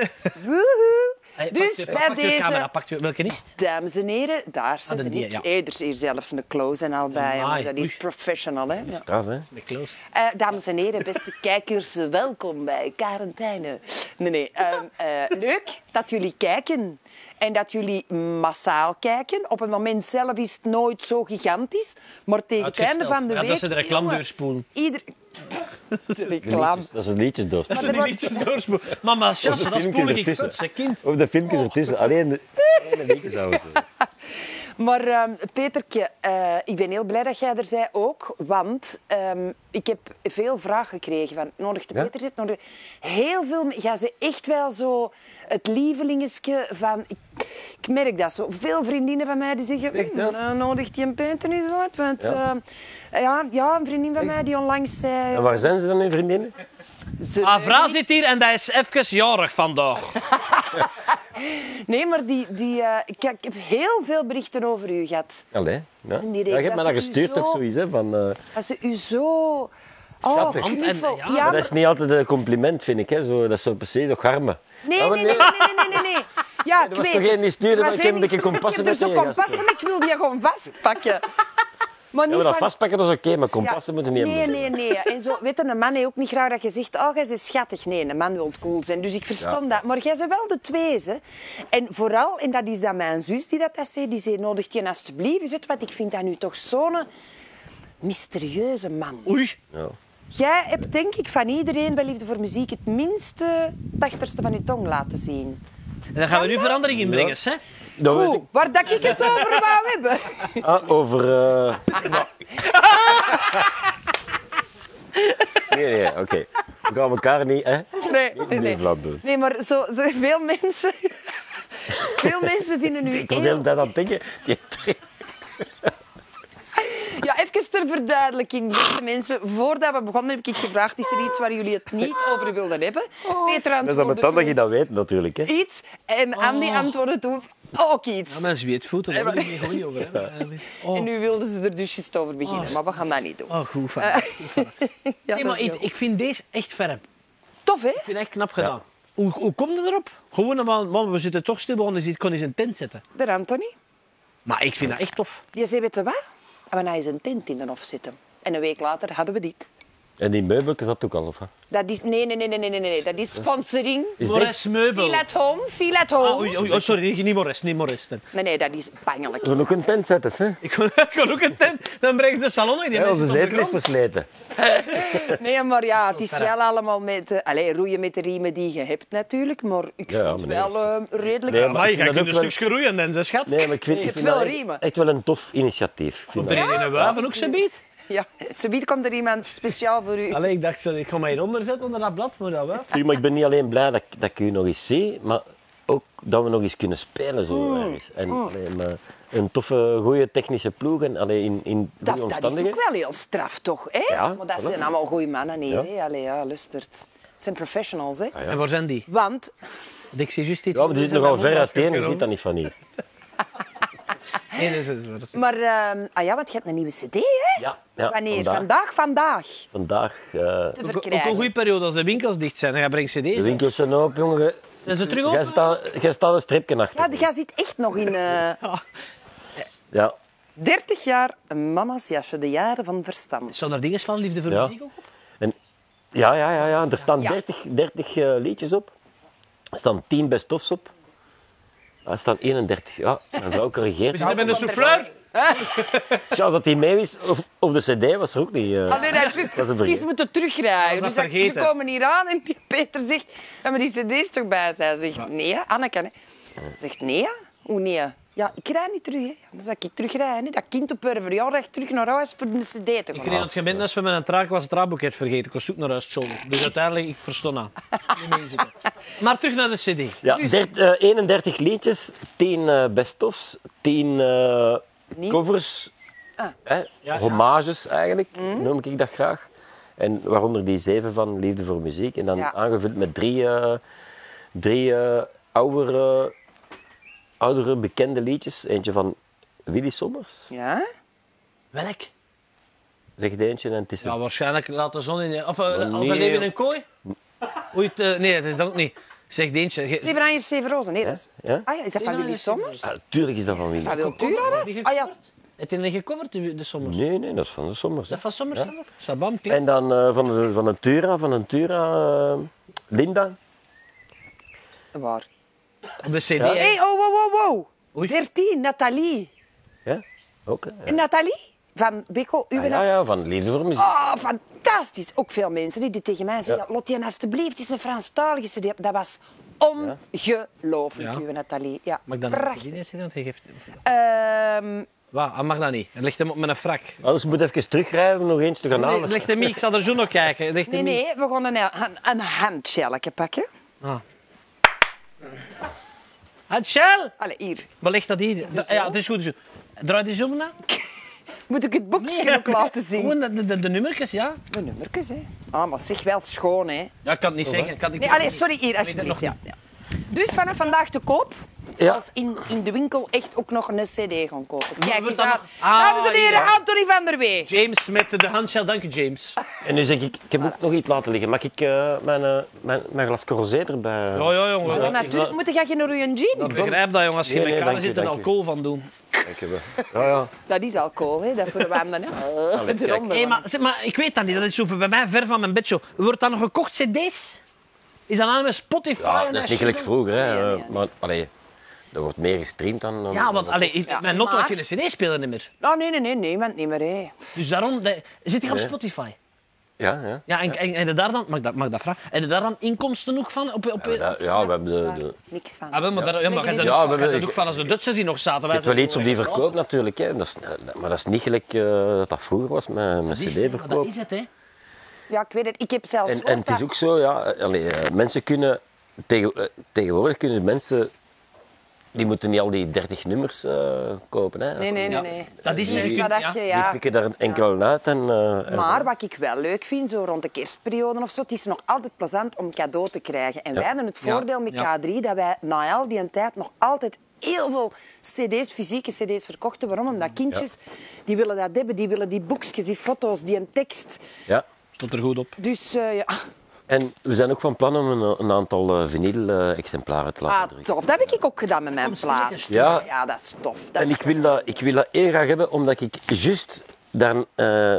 [SPEAKER 3] Woehoe.
[SPEAKER 2] Hey, pak
[SPEAKER 3] Dus
[SPEAKER 2] je-
[SPEAKER 3] bij
[SPEAKER 2] pak je camera,
[SPEAKER 3] deze...
[SPEAKER 2] pak je- welke is het?
[SPEAKER 3] Dames en heren, daar zit
[SPEAKER 2] de
[SPEAKER 3] ik.
[SPEAKER 2] die, ja.
[SPEAKER 3] Hey, er is hier zelfs een close en al bij.
[SPEAKER 2] Amai,
[SPEAKER 3] jongens. Dat is
[SPEAKER 2] oei.
[SPEAKER 3] professional, hè? Ja.
[SPEAKER 4] Straf, hè?
[SPEAKER 2] Met Klaus.
[SPEAKER 3] Eh, dames en heren, beste kijkers, welkom bij Quarantaine. Nee, nee. ehm, eh, leuk dat jullie kijken. En dat jullie massaal kijken. Op het moment zelf is het nooit zo gigantisch. Maar tegen het einde van de
[SPEAKER 2] Ja,
[SPEAKER 3] week...
[SPEAKER 2] dat ze de reclame doorspoelen.
[SPEAKER 3] Ieder... De
[SPEAKER 4] De
[SPEAKER 3] reclame.
[SPEAKER 4] liedjes, dat is een liedjes door.
[SPEAKER 3] Maar er wordt-
[SPEAKER 2] Mama, chasse, dat
[SPEAKER 4] filmpjes
[SPEAKER 2] spoel ik.
[SPEAKER 4] ertussen.
[SPEAKER 2] Futse kind.
[SPEAKER 4] Of de filmpjes ertussen. Alleen de, alleen de liedjes houden ze.
[SPEAKER 3] Maar ehm, Petertje, eh, ik ben heel blij dat jij er zei ook. Want ehm, ik heb veel vragen gekregen van nodig de
[SPEAKER 4] Ja?
[SPEAKER 3] Peter zit. Nodig... Heel veel. Ja, ze echt wel zo het lievelingetje van. Ik, ik merk dat zo. Veel vriendinnen van mij die zeggen:
[SPEAKER 4] Is het echt,
[SPEAKER 3] "Mm, eh, nodig die een Peter eens uit. Want
[SPEAKER 4] Ja.
[SPEAKER 3] ehm, ja, ja, een vriendin van mij die onlangs zei.
[SPEAKER 4] En waar zijn ze dan, hun vriendinnen?
[SPEAKER 3] ze-
[SPEAKER 2] Avra zit hier en dat is even jarig vandaag.
[SPEAKER 3] Nee, maar die, die, eh, ik, ik heb heel veel berichten over u gehad.
[SPEAKER 4] Allee. Ja.
[SPEAKER 3] Die reeks,
[SPEAKER 4] Ja, je
[SPEAKER 3] dat
[SPEAKER 4] hebt mij dat
[SPEAKER 3] ze u
[SPEAKER 4] gestuurd,
[SPEAKER 3] zo-
[SPEAKER 4] toch zoiets, hè? Van, eh,
[SPEAKER 3] Als ze u zo. Oh,
[SPEAKER 4] Schattig.
[SPEAKER 2] Ja,
[SPEAKER 3] knuffel. Ja,
[SPEAKER 2] maar
[SPEAKER 4] maar
[SPEAKER 3] maar-
[SPEAKER 4] dat is niet altijd een compliment, vind ik. Hè? Zo, dat is zo precies toch harmen.
[SPEAKER 3] Nee,
[SPEAKER 4] Ah, maar
[SPEAKER 3] nee, nee, nee, nee, nee, nee. Ja, ik
[SPEAKER 4] was
[SPEAKER 3] weet
[SPEAKER 4] toch
[SPEAKER 3] het.
[SPEAKER 4] één die stuurde,
[SPEAKER 3] Er was
[SPEAKER 4] maar ik heb
[SPEAKER 3] één die
[SPEAKER 4] een keer
[SPEAKER 3] stuurde,
[SPEAKER 4] kompassen
[SPEAKER 3] Ik heb er zo
[SPEAKER 4] meteen
[SPEAKER 3] kompassen, maar ik wil die gewoon vastpakken. Maar
[SPEAKER 4] Ja,
[SPEAKER 3] niet
[SPEAKER 4] maar dat
[SPEAKER 3] van...
[SPEAKER 4] vastpakken dat is oké, maar
[SPEAKER 3] Ja.
[SPEAKER 4] kompassen moeten niet
[SPEAKER 3] Nee,
[SPEAKER 4] hebben. dus.
[SPEAKER 3] nee, nee. En zo, weet je, een man heeft ook niet graag dat je zegt, oh, jij is schattig. Nee, een man wil cool zijn. Dus ik verstand dat. Maar jij bent wel de twee, hè. En vooral, en dat is dan mijn zus die dat, dat zei, die zei, nodig je alsjeblieft eens uit, want ik vind dat nu toch zo'n mysterieuze man.
[SPEAKER 2] Oei.
[SPEAKER 4] Ja.
[SPEAKER 3] Jij hebt denk ik van iedereen bij Liefde voor Muziek het minste tachterste van je tong laten zien.
[SPEAKER 2] En daar gaan we nu verandering in brengen, hè?
[SPEAKER 4] Dan weet
[SPEAKER 3] Oeh, waar dat ik het over wou hebben.
[SPEAKER 4] ik- ah, over... eh, Nee, nee, oké. We gaan elkaar niet, hè?
[SPEAKER 3] Nee, nee,
[SPEAKER 4] Nee,
[SPEAKER 3] nee.
[SPEAKER 4] vlak doen.
[SPEAKER 3] Nee, maar zo, zo veel mensen... Veel mensen vinden u
[SPEAKER 4] Ik was de hele
[SPEAKER 3] heel...
[SPEAKER 4] tijd aan het denken. Ja,
[SPEAKER 3] Ja, even ter verduidelijking, beste mensen. Voordat we begonnen heb ik gevraagd, is er iets waar jullie het niet over wilden hebben?
[SPEAKER 2] Oh.
[SPEAKER 3] Peter
[SPEAKER 4] Dat is
[SPEAKER 3] antwoordde
[SPEAKER 4] dan met dat dat je
[SPEAKER 3] toen
[SPEAKER 4] dat weet, natuurlijk. Hè.
[SPEAKER 3] iets en Andy antwoordde toen ook iets.
[SPEAKER 2] Oh. Ja, mijn zweetvoeten, daar wil ik niet goed over hebben.
[SPEAKER 3] En
[SPEAKER 2] Oh,
[SPEAKER 3] nu wilden ze er dus juist over beginnen, maar we gaan dat niet doen.
[SPEAKER 2] oh, goed. van. Ja,
[SPEAKER 3] Ja,
[SPEAKER 2] zeg
[SPEAKER 3] Eh, dat
[SPEAKER 2] maar,
[SPEAKER 3] is
[SPEAKER 2] ik,
[SPEAKER 3] heel
[SPEAKER 2] ik vind deze echt ferm. Ik
[SPEAKER 3] Tof, hè?
[SPEAKER 2] vind het echt knap gedaan. Hoe, hoe komt het erop? Gewoon, man, man, we zitten toch stil, we gaan eens- ik kon eens een tent zetten.
[SPEAKER 3] De Anthony.
[SPEAKER 2] Maar ik vind dat echt tof.
[SPEAKER 3] Je zei, weet je wat? En we gaan eens een tent in de hof zitten. En een week later hadden we dit.
[SPEAKER 4] En die meubeltjes dat ook al, of? hè?
[SPEAKER 3] Dat is, nee, nee, nee, nee, nee, nee, nee. Dat is sponsoring.
[SPEAKER 4] Is dit
[SPEAKER 2] Morris Meubel.
[SPEAKER 3] Feel at home, feel at home.
[SPEAKER 2] Ah, oei, oei, oei, sorry, niet Morris, niet Morris. dan.
[SPEAKER 3] Nee, nee, dat is pijnlijk.
[SPEAKER 4] we gaan ook een tent zetten, hè?
[SPEAKER 2] Ik kon, ik kon ook een tent, dan brengen ze de salon in. Die
[SPEAKER 4] Ja,
[SPEAKER 2] mensen
[SPEAKER 4] onze
[SPEAKER 2] zitten op de
[SPEAKER 4] zetel is
[SPEAKER 2] grond.
[SPEAKER 4] versleten.
[SPEAKER 3] Nee, maar ja, het is wel allemaal met... eh, allee, roeien met de riemen die je hebt natuurlijk, maar ik
[SPEAKER 4] Ja, ja,
[SPEAKER 3] vond het
[SPEAKER 4] maar nee,
[SPEAKER 3] wel eh, redelijk...
[SPEAKER 4] Nee,
[SPEAKER 2] Maar je
[SPEAKER 4] Ik vind
[SPEAKER 2] gaat
[SPEAKER 4] dat
[SPEAKER 2] een
[SPEAKER 4] ook wel-
[SPEAKER 2] stukje roeien, dan, zeg schat.
[SPEAKER 4] Nee, maar ik vind,
[SPEAKER 3] Je
[SPEAKER 4] ik
[SPEAKER 3] hebt
[SPEAKER 4] vind
[SPEAKER 3] wel
[SPEAKER 4] dat
[SPEAKER 3] riemen.
[SPEAKER 4] echt, echt wel een tof initiatief. ik Vind
[SPEAKER 2] Op
[SPEAKER 4] dat.
[SPEAKER 2] de reden en wuiven ook zo biedt.
[SPEAKER 3] Ja, zo biedt komt er iemand speciaal voor u.
[SPEAKER 2] Allee, ik dacht, zo, ik ga mij hieronder zetten onder dat blad, maar dat wel.
[SPEAKER 4] Tuurlijk, Maar ik ben niet alleen blij dat, ik- dat ik u nog eens zie, maar ook dat we nog eens kunnen spelen zo ergens. En allee, maar een toffe, goede technische ploeg en allee, in,
[SPEAKER 3] Dat,
[SPEAKER 4] in goede
[SPEAKER 3] dat is
[SPEAKER 4] omstandigheden.
[SPEAKER 3] ook wel heel straf, toch? Hè?
[SPEAKER 4] Ja,
[SPEAKER 3] maar dat
[SPEAKER 4] voilà.
[SPEAKER 3] zijn allemaal goede mannen hier.
[SPEAKER 4] Ja.
[SPEAKER 3] Hè? Allee, ja, lustert. Het zijn professionals, hè?
[SPEAKER 2] En waar zijn die?
[SPEAKER 3] Want
[SPEAKER 2] Ik zie juist iets.
[SPEAKER 4] Ja, maar die zit nogal ver uit één, je ziet dat niet van hier.
[SPEAKER 2] Nee, dat is het. dat is het.
[SPEAKER 3] Maar ehm, ah ja, want je hebt een nieuwe CD, hè?
[SPEAKER 4] Ja, ja,
[SPEAKER 3] Wanneer? Vandaag,
[SPEAKER 4] vandaag.
[SPEAKER 3] vandaag,
[SPEAKER 4] Vandaag, eh
[SPEAKER 3] te
[SPEAKER 2] Ook, ook een
[SPEAKER 3] verkrijgen.
[SPEAKER 2] goede periode als de winkels dicht zijn. Dan ga je brengen
[SPEAKER 4] de
[SPEAKER 2] cd's.
[SPEAKER 4] winkels zijn open, jongen.
[SPEAKER 2] Zijn ze terug
[SPEAKER 4] Jij
[SPEAKER 2] open?
[SPEAKER 4] staat, jij staat een stripje
[SPEAKER 3] Ja,
[SPEAKER 4] achter.
[SPEAKER 3] jij zit echt nog in eh,
[SPEAKER 4] Ja,
[SPEAKER 3] 30 jaar mama's jasje, de jaren van verstand.
[SPEAKER 2] Staan er dingen van liefde voor
[SPEAKER 4] Ja.
[SPEAKER 2] muziek ook op?
[SPEAKER 4] En, ja, ja, ja, ja. Er staan
[SPEAKER 3] Ja.
[SPEAKER 4] 30, 30 eh, liedjes op. Er staan 10 best ofs op. Ja, Er staan 31. Ja, mijn vrouw
[SPEAKER 2] We
[SPEAKER 4] corrigeert.
[SPEAKER 2] zitten bij de
[SPEAKER 3] komt er
[SPEAKER 2] souffleur.
[SPEAKER 4] Tja, dat die mee is, of, of de cd was er ook niet. eh.
[SPEAKER 3] Ah, nee, dat is juist.
[SPEAKER 4] Dat is een vergeten.
[SPEAKER 3] die ze moeten terugrijden.
[SPEAKER 2] Dat is
[SPEAKER 3] Dus
[SPEAKER 2] dat
[SPEAKER 3] dat- ze
[SPEAKER 2] vergeten.
[SPEAKER 3] komen hier aan en die Peter zegt... Ja, maar die cd's toch bij? Zij zegt nee, hè, Anneke. Hè. Zegt nee, hè? Hoe nee? hè? Ja, ik rijd niet terug. Hè. Dan zou ik terugrijden. Hè. Dat kind op haar verjaardag terug naar huis voor de cd te
[SPEAKER 2] Ik
[SPEAKER 3] gaan.
[SPEAKER 2] reed aan het gemeentehuis van mijn traag was het raadboeket vergeten. Ik was zoek naar huis, John. Dus uiteindelijk, ik verstond aan. Niet meer inzitten. Maar terug naar de cd.
[SPEAKER 4] Ja, dert- eh, 31 liedjes, 10 eh, best ofs, 10 eh,
[SPEAKER 3] Niet?
[SPEAKER 4] covers, hè,
[SPEAKER 2] ja.
[SPEAKER 4] hommages eigenlijk, noem ik dat graag. En waaronder die zeven van Liefde voor Muziek. En dan
[SPEAKER 3] Ja.
[SPEAKER 4] aangevuld met drie, eh, drie eh, oudere, oudere bekende liedjes. Eentje van Willy Sommers,
[SPEAKER 3] Ja?
[SPEAKER 2] Welk?
[SPEAKER 4] zegt eentje, en het is
[SPEAKER 2] Ja,
[SPEAKER 4] een-
[SPEAKER 2] waarschijnlijk laat de zon in... Of eh,
[SPEAKER 4] Maar
[SPEAKER 2] als een
[SPEAKER 4] nee,
[SPEAKER 2] leven in
[SPEAKER 4] joh.
[SPEAKER 2] een kooi? Oei, het, eh, nee, dat is dat ook niet. Zeg Deentje. ge-
[SPEAKER 3] Zeven Anjers, Zeven Rozen. Nee, dat is...
[SPEAKER 4] Ja?
[SPEAKER 3] Ah ja, is dat van Willy Sommers?
[SPEAKER 4] Ah, tuurlijk is dat van Willy.
[SPEAKER 3] Van Wiltura, dat is? Ah ja.
[SPEAKER 2] Het is niet gecoverd, de de sommers.
[SPEAKER 4] Nee, nee, dat is van de Sommers. hè.
[SPEAKER 2] Dat van sommers zelf? Sabam, klink.
[SPEAKER 4] En dan eh, van, de, van de Tura, van de Tura, eh, Linda.
[SPEAKER 3] Waar?
[SPEAKER 2] Op de cd.
[SPEAKER 3] Hé,
[SPEAKER 2] hè.
[SPEAKER 3] hey, oh, wow, wow, wow.
[SPEAKER 2] Oei.
[SPEAKER 3] 13, Nathalie.
[SPEAKER 4] Ja, ook. hè? Ja.
[SPEAKER 3] Nathalie? Van Beko, uw
[SPEAKER 4] Ah, ja, ja, van Liefde voor Muziek.
[SPEAKER 3] Oh, fantastisch. Ook veel mensen hè, die tegen mij zeggen,
[SPEAKER 4] Ja.
[SPEAKER 3] Lottie, en alsjeblieft, het is een Franstalige CD. Dat was ongelooflijk,
[SPEAKER 2] Ja.
[SPEAKER 3] uw Nathalie. Ja,
[SPEAKER 2] Mag ik dan
[SPEAKER 3] prachtig.
[SPEAKER 2] niet cd? Want hij geeft...
[SPEAKER 3] Ehm,
[SPEAKER 2] Wauw, dat mag dat niet. Het ligt hem op mijn frak.
[SPEAKER 4] Anders moet ik even terugrijden om nog eens te gaan
[SPEAKER 2] Nee,
[SPEAKER 4] halen.
[SPEAKER 2] het ligt hem niet. Ik zal er zo nog kijken. Het ligt
[SPEAKER 3] nee,
[SPEAKER 2] hem niet.
[SPEAKER 3] nee, we gaan een, een, een handschelletje pakken.
[SPEAKER 2] Ah. Ah, Shell!
[SPEAKER 3] Allee, hier.
[SPEAKER 2] Waar ligt dat hier? Da- ja, het is goed. het is goed. Draai die zo maar na.
[SPEAKER 3] Moet ik het boekje ook laten zien?
[SPEAKER 2] Gewoon de, de, de, de nummertjes, ja.
[SPEAKER 3] De nummertjes, hè. Ah, maar zeg wel schoon, hè.
[SPEAKER 2] Ja, ik kan
[SPEAKER 4] Oh,
[SPEAKER 2] het niet zeggen. Ik Kan het
[SPEAKER 3] Nee,
[SPEAKER 2] niet-
[SPEAKER 3] allee, sorry, hier, alsjeblieft. Ja. Ja. Dus vanaf vandaag te koop.
[SPEAKER 4] Ja.
[SPEAKER 3] Als in, in de winkel echt ook nog een cd gaan kopen. Kijk
[SPEAKER 2] wordt
[SPEAKER 3] eens
[SPEAKER 2] dat
[SPEAKER 3] aan.
[SPEAKER 2] nog- Ah,
[SPEAKER 3] Dames en heren,
[SPEAKER 2] ja.
[SPEAKER 3] Anthony van der Wee.
[SPEAKER 2] James met de handshell. Dank je, James.
[SPEAKER 4] En nu zeg ik, ik heb ook nog iets laten liggen. Mag ik eh, mijn, eh, mijn, mijn glas rosé erbij?
[SPEAKER 2] Ja, ja, jongen.
[SPEAKER 3] Maar natuurlijk moet je geen rode gin.
[SPEAKER 2] Ik begrijp dat, jongen. Als je
[SPEAKER 4] Nee,
[SPEAKER 2] met
[SPEAKER 4] nee,
[SPEAKER 2] kanen
[SPEAKER 4] dank je,
[SPEAKER 2] zit en
[SPEAKER 4] dank je.
[SPEAKER 2] alcohol van doen.
[SPEAKER 4] Dankjewel. Ja, ja.
[SPEAKER 3] Dat is alcohol, hè? dat verwarmde. Hè?
[SPEAKER 4] kijk.
[SPEAKER 3] Eronder.
[SPEAKER 2] Hey, maar, zeg, maar ik weet dat niet. Dat is zo bij mij ver van mijn bedshow. Wordt dat nog gekocht, cd's? Is dat aan met Spotify?
[SPEAKER 4] Ja,
[SPEAKER 2] en
[SPEAKER 4] dat is niet
[SPEAKER 2] shizzle?
[SPEAKER 4] gelijk vroeger. Hè.
[SPEAKER 3] Nee, nee,
[SPEAKER 4] eh, Maar allee, er wordt meer gestreamd dan... dan-
[SPEAKER 2] Ja, want
[SPEAKER 4] dan-
[SPEAKER 2] allee, ik-
[SPEAKER 3] Ja,
[SPEAKER 2] mijn notto had
[SPEAKER 3] maar-
[SPEAKER 2] geen cd-speler niet meer.
[SPEAKER 3] Nou, nee, nee, nee, niemand niet meer. Hè.
[SPEAKER 2] Dus daarom... de- zit ik op
[SPEAKER 4] Nee.
[SPEAKER 2] Spotify?
[SPEAKER 4] Ja, ja.
[SPEAKER 2] Ja, en, en, en daar dan... Mag ik dat, mag ik dat vragen? En daar dan inkomsten ook van? Op, op,
[SPEAKER 4] Ja, dat- ja, we hebben de... de...
[SPEAKER 3] Niks van.
[SPEAKER 2] Ah, wel, maar daar, ja, maar jij bent ook-
[SPEAKER 4] Ja, we-
[SPEAKER 2] jij bent
[SPEAKER 4] we-
[SPEAKER 2] ook van als de Duitsers die nog zaten.
[SPEAKER 4] Je
[SPEAKER 2] Wij oh,
[SPEAKER 4] hebt wel iets op die verkoop natuurlijk, hè. Dat is, eh, maar dat is niet gelijk eh, dat dat vroeger was, met, met
[SPEAKER 2] Dat
[SPEAKER 4] cd-verkoop.
[SPEAKER 2] is het, hè.
[SPEAKER 3] Ja, ik weet het. Ik heb zelfs
[SPEAKER 4] En, en het is ook zo, ja, eh, allee, eh, mensen kunnen, tegen, eh, tegenwoordig kunnen mensen, die moeten niet al die 30 nummers eh, kopen. Hè.
[SPEAKER 3] Nee, nee, nee.
[SPEAKER 2] Ja.
[SPEAKER 3] nee.
[SPEAKER 2] Dat is
[SPEAKER 3] Dus
[SPEAKER 2] het.
[SPEAKER 3] dat je-
[SPEAKER 2] Ja.
[SPEAKER 4] Die
[SPEAKER 3] ja.
[SPEAKER 4] pikken daar een enkel uit en... eh, en-
[SPEAKER 3] Maar wat ik wel leuk vind, zo rond de kerstperiode of zo, het is nog altijd plezant om cadeau te krijgen. En wij hebben het
[SPEAKER 2] Ja,
[SPEAKER 3] voordeel met
[SPEAKER 2] ja.
[SPEAKER 3] K3 dat wij na al die tijd nog altijd heel veel cd's, fysieke cd's verkochten. Waarom? Omdat kindjes, die willen dat hebben, die willen die boekjes, die foto's, die een tekst.
[SPEAKER 4] Ja.
[SPEAKER 2] Stond er goed op.
[SPEAKER 3] Dus eh, ja,
[SPEAKER 4] En we zijn ook van plan om een, een aantal eh, vinyl-exemplaren te laten
[SPEAKER 3] ah,
[SPEAKER 4] drukken.
[SPEAKER 3] tof. Dat heb ik ook gedaan met mijn plaat.
[SPEAKER 4] Ja.
[SPEAKER 3] ja, dat is tof. Dat
[SPEAKER 4] En
[SPEAKER 3] is
[SPEAKER 4] ik wil, dat, ik wil dat heel graag hebben, omdat ik juist daar eh,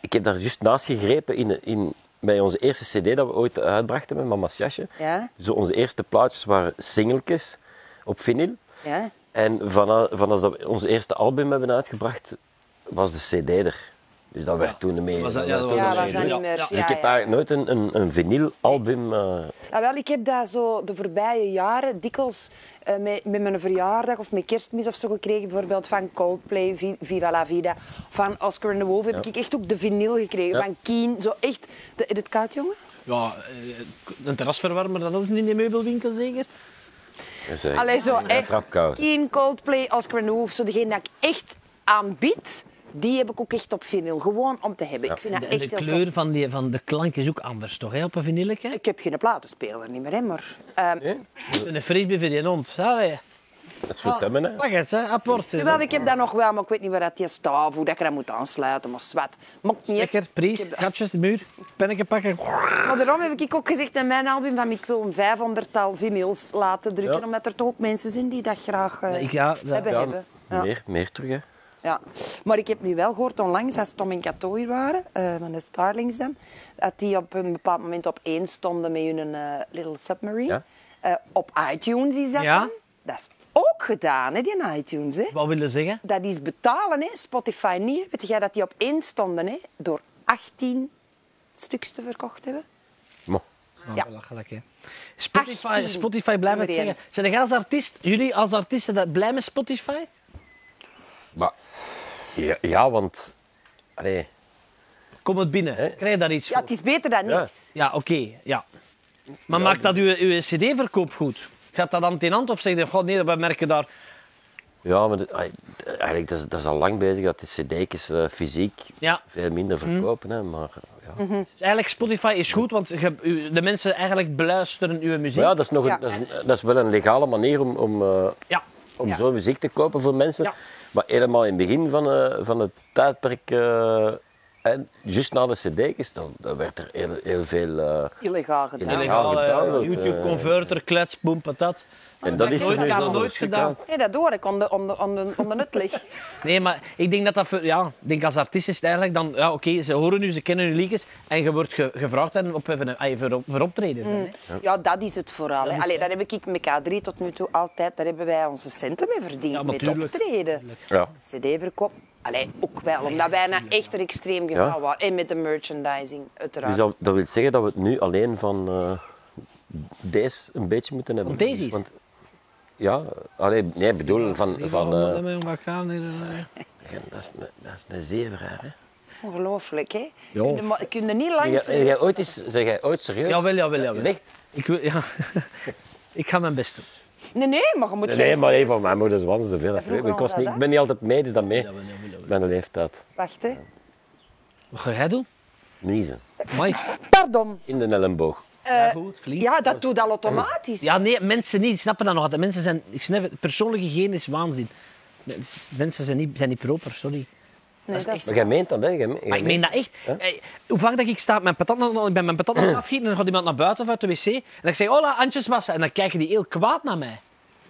[SPEAKER 4] ik heb daar juist naast gegrepen in, in, bij onze eerste cd dat we ooit uitbrachten met Mama's Jasje.
[SPEAKER 3] Ja.
[SPEAKER 4] Zo onze eerste plaatjes waren singeltjes op vinyl.
[SPEAKER 3] Ja.
[SPEAKER 4] En vanaf, vanaf dat we ons eerste album hebben uitgebracht, was de cd er. Dus dat werd toen meer.
[SPEAKER 2] Was dat-
[SPEAKER 4] dat
[SPEAKER 2] ja, dat
[SPEAKER 4] werd toen
[SPEAKER 3] Ja,
[SPEAKER 4] een
[SPEAKER 3] was
[SPEAKER 4] meer.
[SPEAKER 3] dat niet meer.
[SPEAKER 2] Ja.
[SPEAKER 3] Ja,
[SPEAKER 4] Dus ik heb
[SPEAKER 3] ja.
[SPEAKER 4] eigenlijk nooit een, een, een vinylalbum... eh,
[SPEAKER 3] Ah, wel, ik heb dat zo de voorbije jaren dikwijls eh, met, met mijn verjaardag of met kerstmis of zo gekregen. Bijvoorbeeld van Coldplay, Vi- Viva la Vida. Van Oscar and the Wolf heb ik echt ook de vinyl gekregen.
[SPEAKER 4] Ja.
[SPEAKER 3] Van Keen, zo echt. De, is het koud, jongen?
[SPEAKER 2] Ja, eh, een terrasverwarmer, dat is niet in de meubelwinkel zeker?
[SPEAKER 4] dus, eh,
[SPEAKER 3] Allee, zo
[SPEAKER 4] ja,
[SPEAKER 3] echt.
[SPEAKER 4] trapkoud.
[SPEAKER 3] Keen, Coldplay, Oscar and the Wolf. Zo degene dat ik echt aanbied, die heb ik ook echt op vinyl. Gewoon om te hebben. Ik vind dat
[SPEAKER 2] En
[SPEAKER 3] echt
[SPEAKER 2] de
[SPEAKER 3] heel
[SPEAKER 2] kleur
[SPEAKER 3] tof.
[SPEAKER 2] van, die, van de klank is ook anders, toch? Hè, op een vinilletje?
[SPEAKER 3] Ik heb geen platenspeler niet meer, hè, maar... ehm,
[SPEAKER 2] Een frisbee voor die hond. Allee.
[SPEAKER 4] Dat soort hebben, hè.
[SPEAKER 2] Pak het, hè. Apport.
[SPEAKER 3] Jawel, ik heb dat nog wel, maar ik weet niet waar dat je staat of hoe dat ik dat moet aansluiten, maar zwart. Mocht niet. uit.
[SPEAKER 2] Lekker, prijs,
[SPEAKER 3] Ik heb
[SPEAKER 2] katjes, de muur, pennetje pakken.
[SPEAKER 3] Maar daarom heb ik ook gezegd in mijn album van ik wil een vijfhonderdtal vinyls laten drukken,
[SPEAKER 4] Ja.
[SPEAKER 3] omdat er toch ook mensen zijn die dat graag eh,
[SPEAKER 2] Ik, ja, dat-
[SPEAKER 3] hebben.
[SPEAKER 4] Ja,
[SPEAKER 3] hebben. Ja.
[SPEAKER 4] Meer, meer terug, hè.
[SPEAKER 3] Ja. Maar ik heb nu wel gehoord onlangs, als Tom en Cato hier waren, eh, van de Starlings dan, dat die op een bepaald moment op één stonden met hun eh, Little Submarine.
[SPEAKER 4] Ja.
[SPEAKER 3] Eh, op iTunes is dat
[SPEAKER 2] Ja.
[SPEAKER 3] dan. Dat is ook gedaan, hè, die in iTunes. Hè.
[SPEAKER 2] Wat wil je zeggen?
[SPEAKER 3] dat is betalen, hè. Spotify niet. Weet jij dat die op één stonden, hè? door 18 stuks te verkocht hebben?
[SPEAKER 4] Maar,
[SPEAKER 2] Oh,
[SPEAKER 3] Ja.
[SPEAKER 2] belachelijk, hè. Spotify,
[SPEAKER 3] 18,
[SPEAKER 2] Spotify blijft het
[SPEAKER 3] nummer één.
[SPEAKER 2] zeggen. Zijn jij als artiest, jullie als artiesten, dat blij met Spotify?
[SPEAKER 4] maar ja, ja, want... Allee,
[SPEAKER 2] Kom het binnen,
[SPEAKER 4] Hè?
[SPEAKER 2] krijg je daar iets
[SPEAKER 3] Ja,
[SPEAKER 2] voor?
[SPEAKER 3] het is beter dan
[SPEAKER 4] Ja.
[SPEAKER 3] niks.
[SPEAKER 2] Ja, oké, ja. Maar maakt dat uw, uw cd-verkoop goed? Gaat dat hand in hand of zeg je, god nee, we merken daar...
[SPEAKER 4] ja, maar dat- ai, eigenlijk, dat is, dat is al lang bezig dat die cd's eh, fysiek
[SPEAKER 2] Ja.
[SPEAKER 4] veel minder verkopen, hè. Maar ja.
[SPEAKER 3] Mhm.
[SPEAKER 2] Dus eigenlijk, Spotify is goed, want je- u- de mensen eigenlijk beluisteren uw muziek.
[SPEAKER 4] Maar ja, dat is, nog een,
[SPEAKER 3] Ja.
[SPEAKER 4] dat, is, een- dat is wel een legale manier om, om, eh,
[SPEAKER 2] Ja.
[SPEAKER 4] om
[SPEAKER 3] Ja.
[SPEAKER 4] zo'n muziek te kopen voor mensen.
[SPEAKER 2] Ja.
[SPEAKER 4] Maar helemaal in het begin van, eh, van het tijdperk, eh, en juist na de cd's, dan, dan werd er heel, heel veel... eh,
[SPEAKER 3] Illegaal gedaan.
[SPEAKER 4] Illegaal.
[SPEAKER 2] Illegale
[SPEAKER 4] gedownload, eh.
[SPEAKER 2] YouTube-converter, klets, boem, patat.
[SPEAKER 4] en dat
[SPEAKER 3] dat
[SPEAKER 4] is
[SPEAKER 3] heb
[SPEAKER 4] er
[SPEAKER 3] ik
[SPEAKER 4] nu
[SPEAKER 3] dat
[SPEAKER 4] zelfs
[SPEAKER 3] nog
[SPEAKER 4] een
[SPEAKER 2] nooit
[SPEAKER 4] stuk
[SPEAKER 2] gedaan.
[SPEAKER 4] uit.
[SPEAKER 3] Nee, dat hoor ik onder, onder, onder, onder het licht.
[SPEAKER 2] Nee, maar ik denk dat dat voor, ja, ik denk als artiest is het eigenlijk dan, ja, oké, ze horen u, ze kennen uw liedjes en je wordt ge- gevraagd en op, even, ah, voor, op- voor optredens.
[SPEAKER 3] Mm.
[SPEAKER 2] dan, hè.
[SPEAKER 3] Ja, dat is het vooral. hè. Allee, daar heb ik met K3 tot nu toe altijd, daar hebben wij onze centen mee verdiend,
[SPEAKER 2] Ja, maar
[SPEAKER 3] met
[SPEAKER 2] tuurlijk.
[SPEAKER 3] optreden.
[SPEAKER 4] Ja.
[SPEAKER 3] CD-verkoop, allee, ook wel, omdat wij naar echter extreem gegaan
[SPEAKER 4] Ja.
[SPEAKER 3] waren. En met de merchandising, uiteraard.
[SPEAKER 4] Dus dat, dat wil zeggen dat we het nu alleen van eh, deze een beetje moeten hebben.
[SPEAKER 2] Van deze hier?
[SPEAKER 4] Want, ja, alleen, nee, ik bedoel van... van eh,
[SPEAKER 2] eh,
[SPEAKER 4] dat, is een, dat is een zeer raar, hè.
[SPEAKER 3] Ongelooflijk, hè?
[SPEAKER 2] Ja.
[SPEAKER 3] Kun je ma- Kun je niet lang...
[SPEAKER 4] Jij- jij ooit eens, zeg jij ooit serieus?
[SPEAKER 2] Jawel, jawel, jawel.
[SPEAKER 4] Echt?
[SPEAKER 2] Ik, wil, ja. ik ga mijn best doen.
[SPEAKER 3] Nee, nee, maar je moet
[SPEAKER 4] Nee,
[SPEAKER 3] geen
[SPEAKER 4] nee maar
[SPEAKER 3] stress-
[SPEAKER 4] even van mijn moeder was te veel.
[SPEAKER 3] vroegen
[SPEAKER 4] Ik,
[SPEAKER 3] ons
[SPEAKER 4] was
[SPEAKER 3] dat,
[SPEAKER 4] niet,
[SPEAKER 3] hè?
[SPEAKER 4] ik ben niet altijd mee, dus dat mee.
[SPEAKER 2] jawel, jawel.
[SPEAKER 4] Mijn leeftijd.
[SPEAKER 3] Wacht, hè.
[SPEAKER 2] Wat ga jij doen?
[SPEAKER 4] Niezen.
[SPEAKER 2] Mike,
[SPEAKER 3] Pardon.
[SPEAKER 4] In de elleboog.
[SPEAKER 2] ja, goed, flink. Ja.
[SPEAKER 3] Ja, dat doet al automatisch.
[SPEAKER 2] nee, mensen niet. snappen dat nog altijd. Mensen zijn, ik snap het, persoonlijke hygiëne is waanzin. Mens- Mensen zijn niet, zijn niet proper, sorry.
[SPEAKER 3] nee, dat is...
[SPEAKER 4] Maar jij meent dat, hè? Jij, jij
[SPEAKER 2] Maar ik meen dat echt. Hey, hoe vaak dat ik sta, mijn patat, nog- ik ben mijn patat aan het afgieten en dan gaat iemand naar buiten of uit de wc. En ik zeg, hola, Antjesmassa. En dan kijken die heel kwaad naar mij.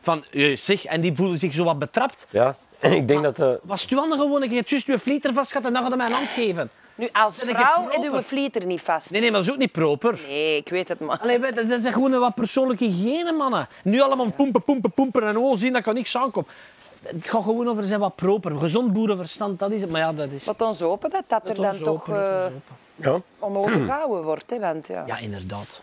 [SPEAKER 2] Van, eh, zeg, en die voelen zich zo wat betrapt.
[SPEAKER 4] Ja, ik denk dat... eh,
[SPEAKER 2] Was het uw ander gewoon, ik heb juist uw vlieter vast gehad en dan gaat hij mij een hand geven.
[SPEAKER 3] Nu, als
[SPEAKER 2] Ben ik
[SPEAKER 3] vrouw
[SPEAKER 2] een
[SPEAKER 3] en uw
[SPEAKER 2] proper?
[SPEAKER 3] vlieter niet vast.
[SPEAKER 2] Nee, nee, maar dat is ook niet proper.
[SPEAKER 3] Nee, ik weet het, maar...
[SPEAKER 2] Allee, wij- dat zijn gewoon een wat persoonlijke hygiëne, mannen. Nu allemaal pompen, pompen, pompen en oh, zien dat kan niks aankomen. Het gaat gewoon over zijn wat proper. Gezond boerenverstand, dat is het. Maar ja, dat is...
[SPEAKER 3] Laat ons hopen dat dat er
[SPEAKER 2] Laat
[SPEAKER 3] dan
[SPEAKER 2] ons
[SPEAKER 3] toch
[SPEAKER 2] hopen, laat
[SPEAKER 3] eh
[SPEAKER 2] ons hopen.
[SPEAKER 4] ja.
[SPEAKER 3] onovergehouden wordt, hè, want ja...
[SPEAKER 2] Ja, inderdaad.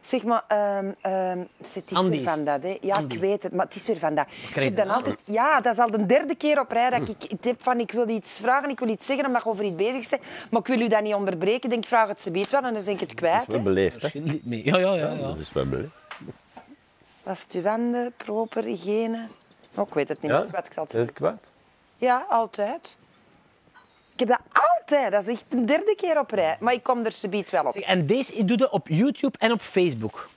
[SPEAKER 3] Zeg maar, ehm, ehm, het is
[SPEAKER 2] Andy.
[SPEAKER 3] weer van dat, hè. Ja,
[SPEAKER 2] Andy.
[SPEAKER 3] ik weet het, maar het is weer van dat. Ik
[SPEAKER 2] krijg
[SPEAKER 3] heb
[SPEAKER 2] je
[SPEAKER 3] dan
[SPEAKER 2] nou?
[SPEAKER 3] altijd... Ja, dat is al de derde keer op rij dat ik het heb van ik wil iets vragen, ik wil iets zeggen, omdat je over iets bezig bent. Maar ik wil u dat niet onderbreken. Ik denk, vraag het ze beet wel en dan ben ik het kwijt.
[SPEAKER 4] Dat is
[SPEAKER 3] hè.
[SPEAKER 4] wel beleefd, hè?
[SPEAKER 2] Misschien niet mee. Ja, ja, ja. ja.
[SPEAKER 4] Dat is wel beleefd.
[SPEAKER 3] Was het uw handen, proper, hygiëne? Oh, ik weet het niet
[SPEAKER 4] Ja?
[SPEAKER 3] meer, wat ik zal
[SPEAKER 4] Is het kwaad?
[SPEAKER 3] Ja, altijd. Ik heb dat altijd. Dat is echt de derde keer op rij. Maar ik kom er subiet wel op.
[SPEAKER 2] Zeg, En deze doe je op YouTube en op Facebook.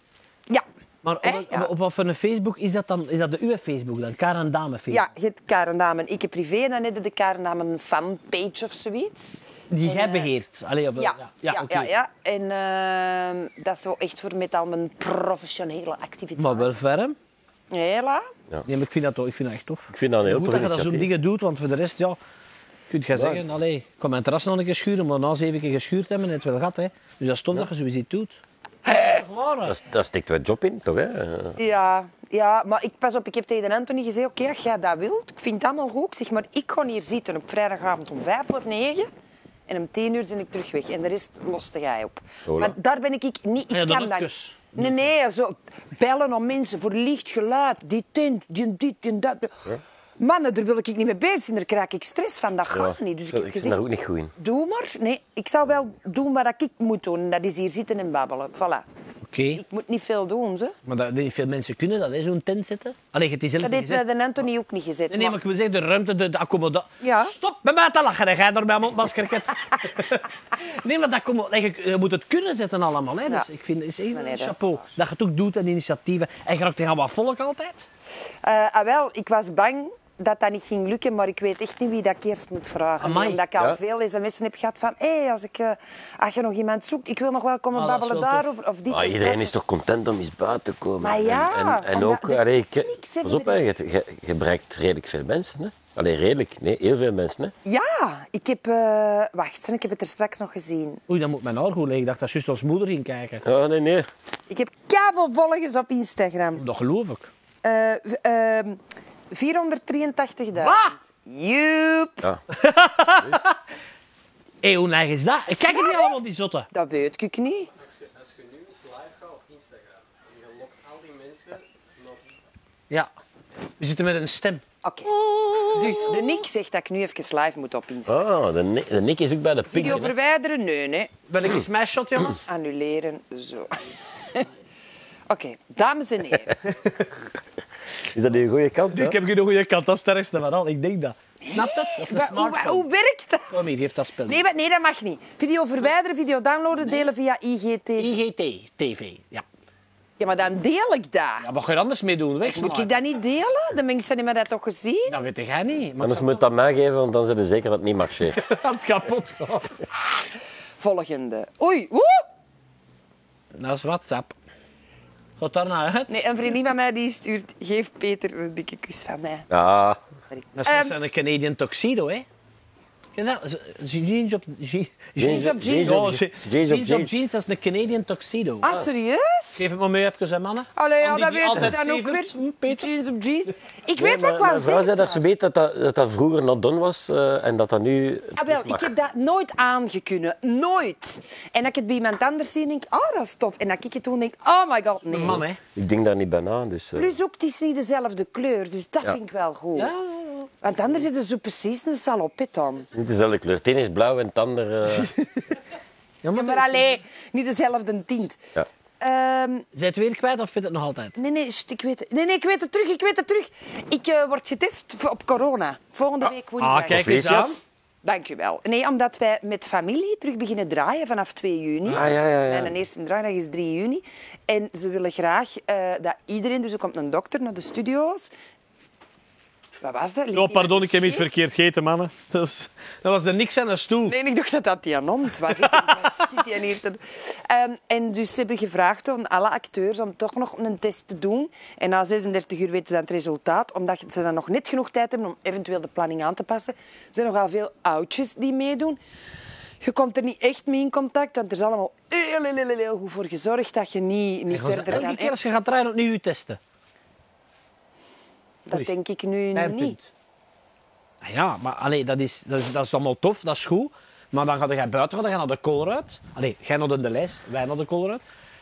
[SPEAKER 3] Ja.
[SPEAKER 2] Maar op,
[SPEAKER 3] Hè?
[SPEAKER 2] op,
[SPEAKER 3] Ja.
[SPEAKER 2] op wat voor een Facebook is dat dan? Is dat de uw Facebook dan? Karen Dame Facebook?
[SPEAKER 3] Ja, je hebt Karen Damen. Ik heb privé en dan heb je de Karen Damen fanpage of zoiets.
[SPEAKER 2] Die jij
[SPEAKER 3] eh,
[SPEAKER 2] beheert. Allee, op,
[SPEAKER 3] Ja, ja, ja,
[SPEAKER 2] oké.
[SPEAKER 3] ja, En ehm, dat is zo echt voor met al mijn professionele activiteiten.
[SPEAKER 2] Maar wel ferm.
[SPEAKER 3] Hela.
[SPEAKER 2] Nee, maar ik vind dat, toch- ik vind dat echt tof.
[SPEAKER 4] Ik vind dat een heel
[SPEAKER 2] Goed
[SPEAKER 4] tof
[SPEAKER 2] dat je dat
[SPEAKER 4] initiatief.
[SPEAKER 2] zo'n dingen doet, want voor de rest, ja... Goed, ga zeggen, allee, ik kan mijn terras nog een keer schuren, maar na zeven keer geschuurd hebben en het wel gehad. Hè. Dus dat stond dat je zoiets niet doet.
[SPEAKER 4] Dat, is- dat steekt wel job in, toch? Hè?
[SPEAKER 3] Ja, ja, maar ik, pas op, ik heb tegen Anthony gezegd, oké, als jij dat wilt, ik vind het allemaal goed. Ik zeg, maar ik ga hier zitten op vrijdagavond om vijf voor negen. En om tien uur ben ik terug weg. En de rest loste jij op.
[SPEAKER 4] Voilà.
[SPEAKER 3] Maar daar ben ik ik niet... Ik
[SPEAKER 2] Ja, dan
[SPEAKER 3] kan
[SPEAKER 2] een
[SPEAKER 3] dat
[SPEAKER 2] kus.
[SPEAKER 3] niet. Nee, nee, zo bellen om mensen voor licht geluid. Die tent, die dit, die dat. Mannen, daar wil ik niet mee bezig zijn. Daar krijg ik stress van. Dat gaat niet. Dus ik
[SPEAKER 4] Zo,
[SPEAKER 3] heb
[SPEAKER 4] ik ben
[SPEAKER 3] gezegd,
[SPEAKER 4] daar ook niet goed in.
[SPEAKER 3] doe maar. Nee, ik zal wel doen wat ik moet doen. En Dat is hier zitten en babbelen. Voilà.
[SPEAKER 2] Oké,
[SPEAKER 3] Ik moet niet veel doen, ze.
[SPEAKER 2] maar dat, niet veel mensen kunnen dat, hè, zo'n tent zetten. Allee, het is zelf
[SPEAKER 3] Dat
[SPEAKER 2] niet
[SPEAKER 3] heeft
[SPEAKER 2] gezet.
[SPEAKER 3] eh, de Anthony ook niet gezet.
[SPEAKER 2] Nee, nee, maar ik wil zeggen, de ruimte, de, de accommodatie.
[SPEAKER 3] Ja.
[SPEAKER 2] Stop met mij te lachen, hè, jij door mijn mondmasker. kent. nee, maar dat kom, je, je moet het kunnen zetten allemaal. Hè. Dus
[SPEAKER 3] Ja.
[SPEAKER 2] ik vind, is even
[SPEAKER 3] Nee, nee, dat is
[SPEAKER 2] chapeau. Dat, je het ook doet en initiatieven. En je raakt tegen wat volk altijd.
[SPEAKER 3] Eh, ah, wel, ik was bang dat dat niet ging lukken, maar ik weet echt niet wie dat ik eerst moet vragen.
[SPEAKER 2] Amai.
[SPEAKER 3] Omdat ik al
[SPEAKER 4] Ja.
[SPEAKER 3] veel sms'en heb gehad van... Hé, als, ik, eh, als je nog iemand zoekt, ik wil nog wel komen
[SPEAKER 2] Ah, dat is
[SPEAKER 3] babbelen
[SPEAKER 2] wel tof.
[SPEAKER 3] daarover. Of dit
[SPEAKER 4] Ah,
[SPEAKER 3] of
[SPEAKER 4] iedereen
[SPEAKER 3] dat.
[SPEAKER 4] is toch content om eens buiten te komen?
[SPEAKER 3] Maar ja,
[SPEAKER 4] en, en, en
[SPEAKER 3] omdat
[SPEAKER 4] ook,
[SPEAKER 3] er
[SPEAKER 4] allee,
[SPEAKER 3] is
[SPEAKER 4] ik-
[SPEAKER 3] niks, hè,
[SPEAKER 4] pas
[SPEAKER 3] voor
[SPEAKER 4] op,
[SPEAKER 3] de
[SPEAKER 4] hè, je,
[SPEAKER 3] rest.
[SPEAKER 4] je- je bereikt redelijk veel mensen. Hè? Allee, redelijk, nee, heel veel mensen. Hè?
[SPEAKER 3] Ja, ik heb... eh, wacht, ik heb het er straks nog gezien.
[SPEAKER 2] Oei, dan moet mijn haar goed liggen. Ik dacht dat juist als moeder ging kijken.
[SPEAKER 4] Oh, nee, nee.
[SPEAKER 3] Ik heb veel volgers op Instagram.
[SPEAKER 2] Dat geloof ik.
[SPEAKER 3] Eh, v- ehm, 483.000.
[SPEAKER 2] Wat?
[SPEAKER 3] Joep.
[SPEAKER 4] Ja.
[SPEAKER 2] Hé, hoe neig is dat? Ik kijk het niet allemaal, die zotten.
[SPEAKER 3] Dat weet ik niet.
[SPEAKER 5] Als je, als je nu eens live gaat op Instagram en je lokt al die mensen nog
[SPEAKER 2] Ja. We zitten met een stem.
[SPEAKER 3] Oké.
[SPEAKER 2] Oh.
[SPEAKER 3] Dus de Nick zegt dat ik nu even live moet op Instagram.
[SPEAKER 4] Oh, de, Nick- de Nick is ook bij de pik.
[SPEAKER 3] Video
[SPEAKER 4] hè.
[SPEAKER 3] verwijderen? Nee, nee.
[SPEAKER 2] Welk is mijn shot, jongens?
[SPEAKER 3] Annuleren, zo. Oké, dames en heren.
[SPEAKER 4] Is dat een goede kant?
[SPEAKER 2] Nu, ik
[SPEAKER 4] ja?
[SPEAKER 2] heb geen goede kant, dat is het ergste van al. Ik denk dat. Snap dat? Dat is een
[SPEAKER 3] Wa- hoe,
[SPEAKER 2] smartphone.
[SPEAKER 3] hoe werkt dat?
[SPEAKER 2] Kom hier, geef dat spel.
[SPEAKER 3] Nee, maar- nee, dat mag niet. Video verwijderen, video downloaden, delen via IGT.
[SPEAKER 2] IGT, TV. Ja.
[SPEAKER 3] Ja, maar dan deel ik dat.
[SPEAKER 2] Ja, wat ga je er anders mee doen?
[SPEAKER 3] Moet
[SPEAKER 2] Wegslaan.
[SPEAKER 3] ik dat niet delen? De mensen hebben dat toch gezien?
[SPEAKER 2] Dat weet jij niet. Maar
[SPEAKER 4] Anders moet je het aan mij geven, want dan zijn ze zeker dat het niet marcheert.
[SPEAKER 2] ik had het kapot gehad.
[SPEAKER 3] Volgende. Oei, woe!
[SPEAKER 2] Dat is WhatsApp. Gaat daar naar uit?
[SPEAKER 3] Nee, een vriendin van mij die stuurt... Geef Peter een dikke kus van mij.
[SPEAKER 4] Ah,
[SPEAKER 3] Sorry.
[SPEAKER 2] Dat is net
[SPEAKER 3] Ehm.
[SPEAKER 2] zo'n Canadian tuxedo, hè? Ken je dat? Z- Jeans op je- jeans.
[SPEAKER 4] op jeans.
[SPEAKER 2] Oh, je-
[SPEAKER 4] Jeans op
[SPEAKER 2] Jeans op
[SPEAKER 4] jeans.
[SPEAKER 2] jeans, dat is een Canadian tuxedo.
[SPEAKER 3] Ah, serieus?
[SPEAKER 2] Oh. Geef het maar mee even, hè, mannen.
[SPEAKER 3] Allee, ja,
[SPEAKER 2] Want die-
[SPEAKER 3] dat
[SPEAKER 2] die
[SPEAKER 3] weet ik
[SPEAKER 2] altijd
[SPEAKER 3] dan ook
[SPEAKER 2] zeven-
[SPEAKER 3] weer.
[SPEAKER 2] Hm, Peter.
[SPEAKER 3] Jeans op jeans. Ik
[SPEAKER 4] Nee,
[SPEAKER 3] weet wat ik
[SPEAKER 4] maar
[SPEAKER 3] wou
[SPEAKER 4] mijn
[SPEAKER 3] zeggen.
[SPEAKER 4] vrouw zei daar
[SPEAKER 3] trouwens.
[SPEAKER 4] zo weet dat dat, dat dat vroeger not done was eh, en dat dat nu...
[SPEAKER 3] Ah, wel, ik heb dat nooit aangekunnen. Nooit. En dat ik het bij iemand anders zie, denk ik, oh, dat is tof. En dat ik het toen denk, oh my god, nee.
[SPEAKER 2] Man, hè.
[SPEAKER 4] Ik denk daar niet bij na, dus... eh,
[SPEAKER 3] Plus ook, het is niet dezelfde kleur, dus dat vind ik wel goed. Want anders zitten ze precies een salopet aan.
[SPEAKER 4] niet dezelfde kleur. Het een is blauw en het ander... eh,
[SPEAKER 3] Ja, maar alleen niet dezelfde tint.
[SPEAKER 4] Ja.
[SPEAKER 3] Ehm,
[SPEAKER 2] Zijn het weer kwijt of vind je het nog altijd?
[SPEAKER 3] nee, nee, sst, ik weet het. Nee, nee, ik weet het terug, ik weet het terug. Ik eh, word getest voor- op corona. Volgende week woensdag.
[SPEAKER 2] Ah, kijk eens
[SPEAKER 4] Felicia?
[SPEAKER 2] aan.
[SPEAKER 3] Dankjewel. Nee, omdat wij met familie terug beginnen draaien vanaf 2 juni.
[SPEAKER 4] Ah, ja, ja, ja.
[SPEAKER 3] Mijn eerste draaidag is 3 juni. En ze willen graag eh, dat iedereen... Dus er komt een dokter naar de studio's. Wat was dat? Ligt
[SPEAKER 2] Oh,
[SPEAKER 3] die
[SPEAKER 2] pardon,
[SPEAKER 3] met
[SPEAKER 2] ik heb iets
[SPEAKER 3] scheet?
[SPEAKER 2] verkeerd gegeten, mannen. Dat was- dat was er niks aan een stoel.
[SPEAKER 3] Nee, ik dacht dat dat die hond was. Ik denk, wat zit die hier te doen? Ehm, en dus ze hebben gevraagd aan alle acteurs om toch nog een test te doen. En na 36 uur weten ze dan het resultaat, omdat ze dan nog net genoeg tijd hebben om eventueel de planning aan te passen. Er zijn nogal veel oudjes die meedoen. Je komt er niet echt mee in contact, want er is allemaal heel, heel, heel, heel goed voor gezorgd dat je niet, niet
[SPEAKER 2] Ik was
[SPEAKER 3] verder
[SPEAKER 2] elke
[SPEAKER 3] dan...
[SPEAKER 2] keer als je gaat rijden opnieuw je testen.
[SPEAKER 3] Dat denk ik nu
[SPEAKER 2] Mijn
[SPEAKER 3] niet.
[SPEAKER 2] punt. Ah Ja, maar allee, dat, is, dat, is, dat is allemaal tof, dat is goed. Maar dan ga je buiten, gaan, dan ga je naar de Colruyt. Allee, jij naar de lijst, wij naar de Colruyt.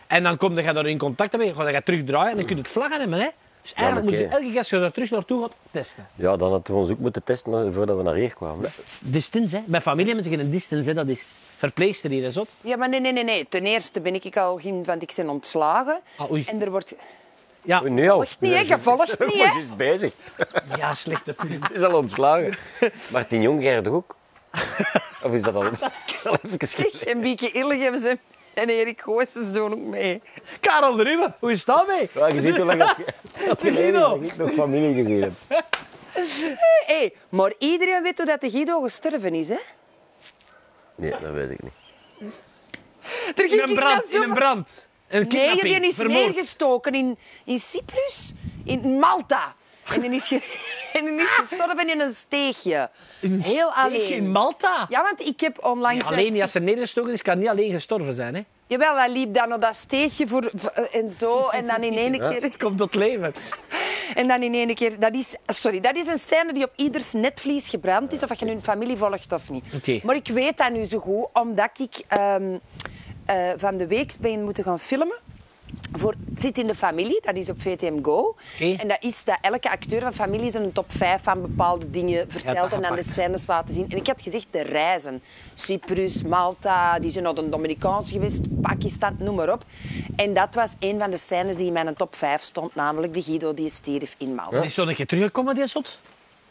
[SPEAKER 2] En dan kom je daar in contact mee, ga je terugdraaien en dan kun je het vlaggen hebben. Hè? Dus eigenlijk
[SPEAKER 4] maar
[SPEAKER 2] moet je
[SPEAKER 4] oké.
[SPEAKER 2] elke keer als je er terug naartoe gaat, testen.
[SPEAKER 4] Ja, dan hadden we ons ook moeten testen eh, voordat we naar hier kwamen.
[SPEAKER 2] Distance, hè. Bij familie hebben ze geen distance, hè. dat is verpleegster hier, hè, zot.
[SPEAKER 3] Ja, maar nee, nee, nee, nee. Ten eerste ben ik al geen... Want ik ben ontslagen.
[SPEAKER 2] Ah, oei.
[SPEAKER 3] en er wordt...
[SPEAKER 2] Ja,
[SPEAKER 4] Oh, Nu al.
[SPEAKER 3] Volgt niet, hè? Je volgt niet, hè?
[SPEAKER 4] oh, Ze is bezig.
[SPEAKER 2] ja slechte punt.
[SPEAKER 4] Ze is al ontslagen. Martin Jong, jij toch ook? Of is dat al... al even geleden?
[SPEAKER 3] Zeg, en Bieke Illegem ze- en Erik Goossens doen ook mee.
[SPEAKER 2] Karel de Ruwe, hoe is dat mee?
[SPEAKER 4] Ja, je ziet hoe lang dat- dat geleden is dat
[SPEAKER 2] Guido.
[SPEAKER 4] ik nog familie gezien heb.
[SPEAKER 3] Hé, hey, maar iedereen weet hoe dat de Guido gestorven is, hè?
[SPEAKER 4] Nee, dat weet ik niet.
[SPEAKER 3] Er
[SPEAKER 2] In een brand, in een brand. Een
[SPEAKER 3] Nee,
[SPEAKER 2] kidnapping,
[SPEAKER 3] die is
[SPEAKER 2] vermoord.
[SPEAKER 3] neergestoken in, in Cyprus, in Malta. En die is, ge- en die is gestorven in een steegje. Heel alleen.
[SPEAKER 2] In Malta.
[SPEAKER 3] Ja, want ik heb onlangs...
[SPEAKER 2] Alleen niet als ze neergestoken is, kan niet alleen gestorven zijn. Hè?
[SPEAKER 3] Jawel, hij liep dan op dat steegje voor, v- en zo. En dan in één keer...
[SPEAKER 2] Het komt tot leven.
[SPEAKER 3] En dan in één keer... Dat is, sorry, dat is een scène die op ieders netvlies gebrand is. Of dat je nu een familie volgt of niet.
[SPEAKER 2] Oké.
[SPEAKER 3] Maar ik weet dat nu zo goed, omdat ik ehm, eh, van de week ben moeten gaan filmen. Voor het zit in de familie, dat is op VTM Go.
[SPEAKER 2] Oké.
[SPEAKER 3] En dat is dat elke acteur van familie zijn top 5 van bepaalde dingen vertelt en dan de
[SPEAKER 2] gepakt.
[SPEAKER 3] scènes laten zien. En ik had gezegd de reizen. Cyprus, Malta, die zijn naar de Dominicaans geweest, Pakistan, noem maar op. En dat was een van de scènes die in mijn top 5 stond, namelijk de Guido die stierf in Malta.
[SPEAKER 2] Is zo een keer teruggekomen, die zot?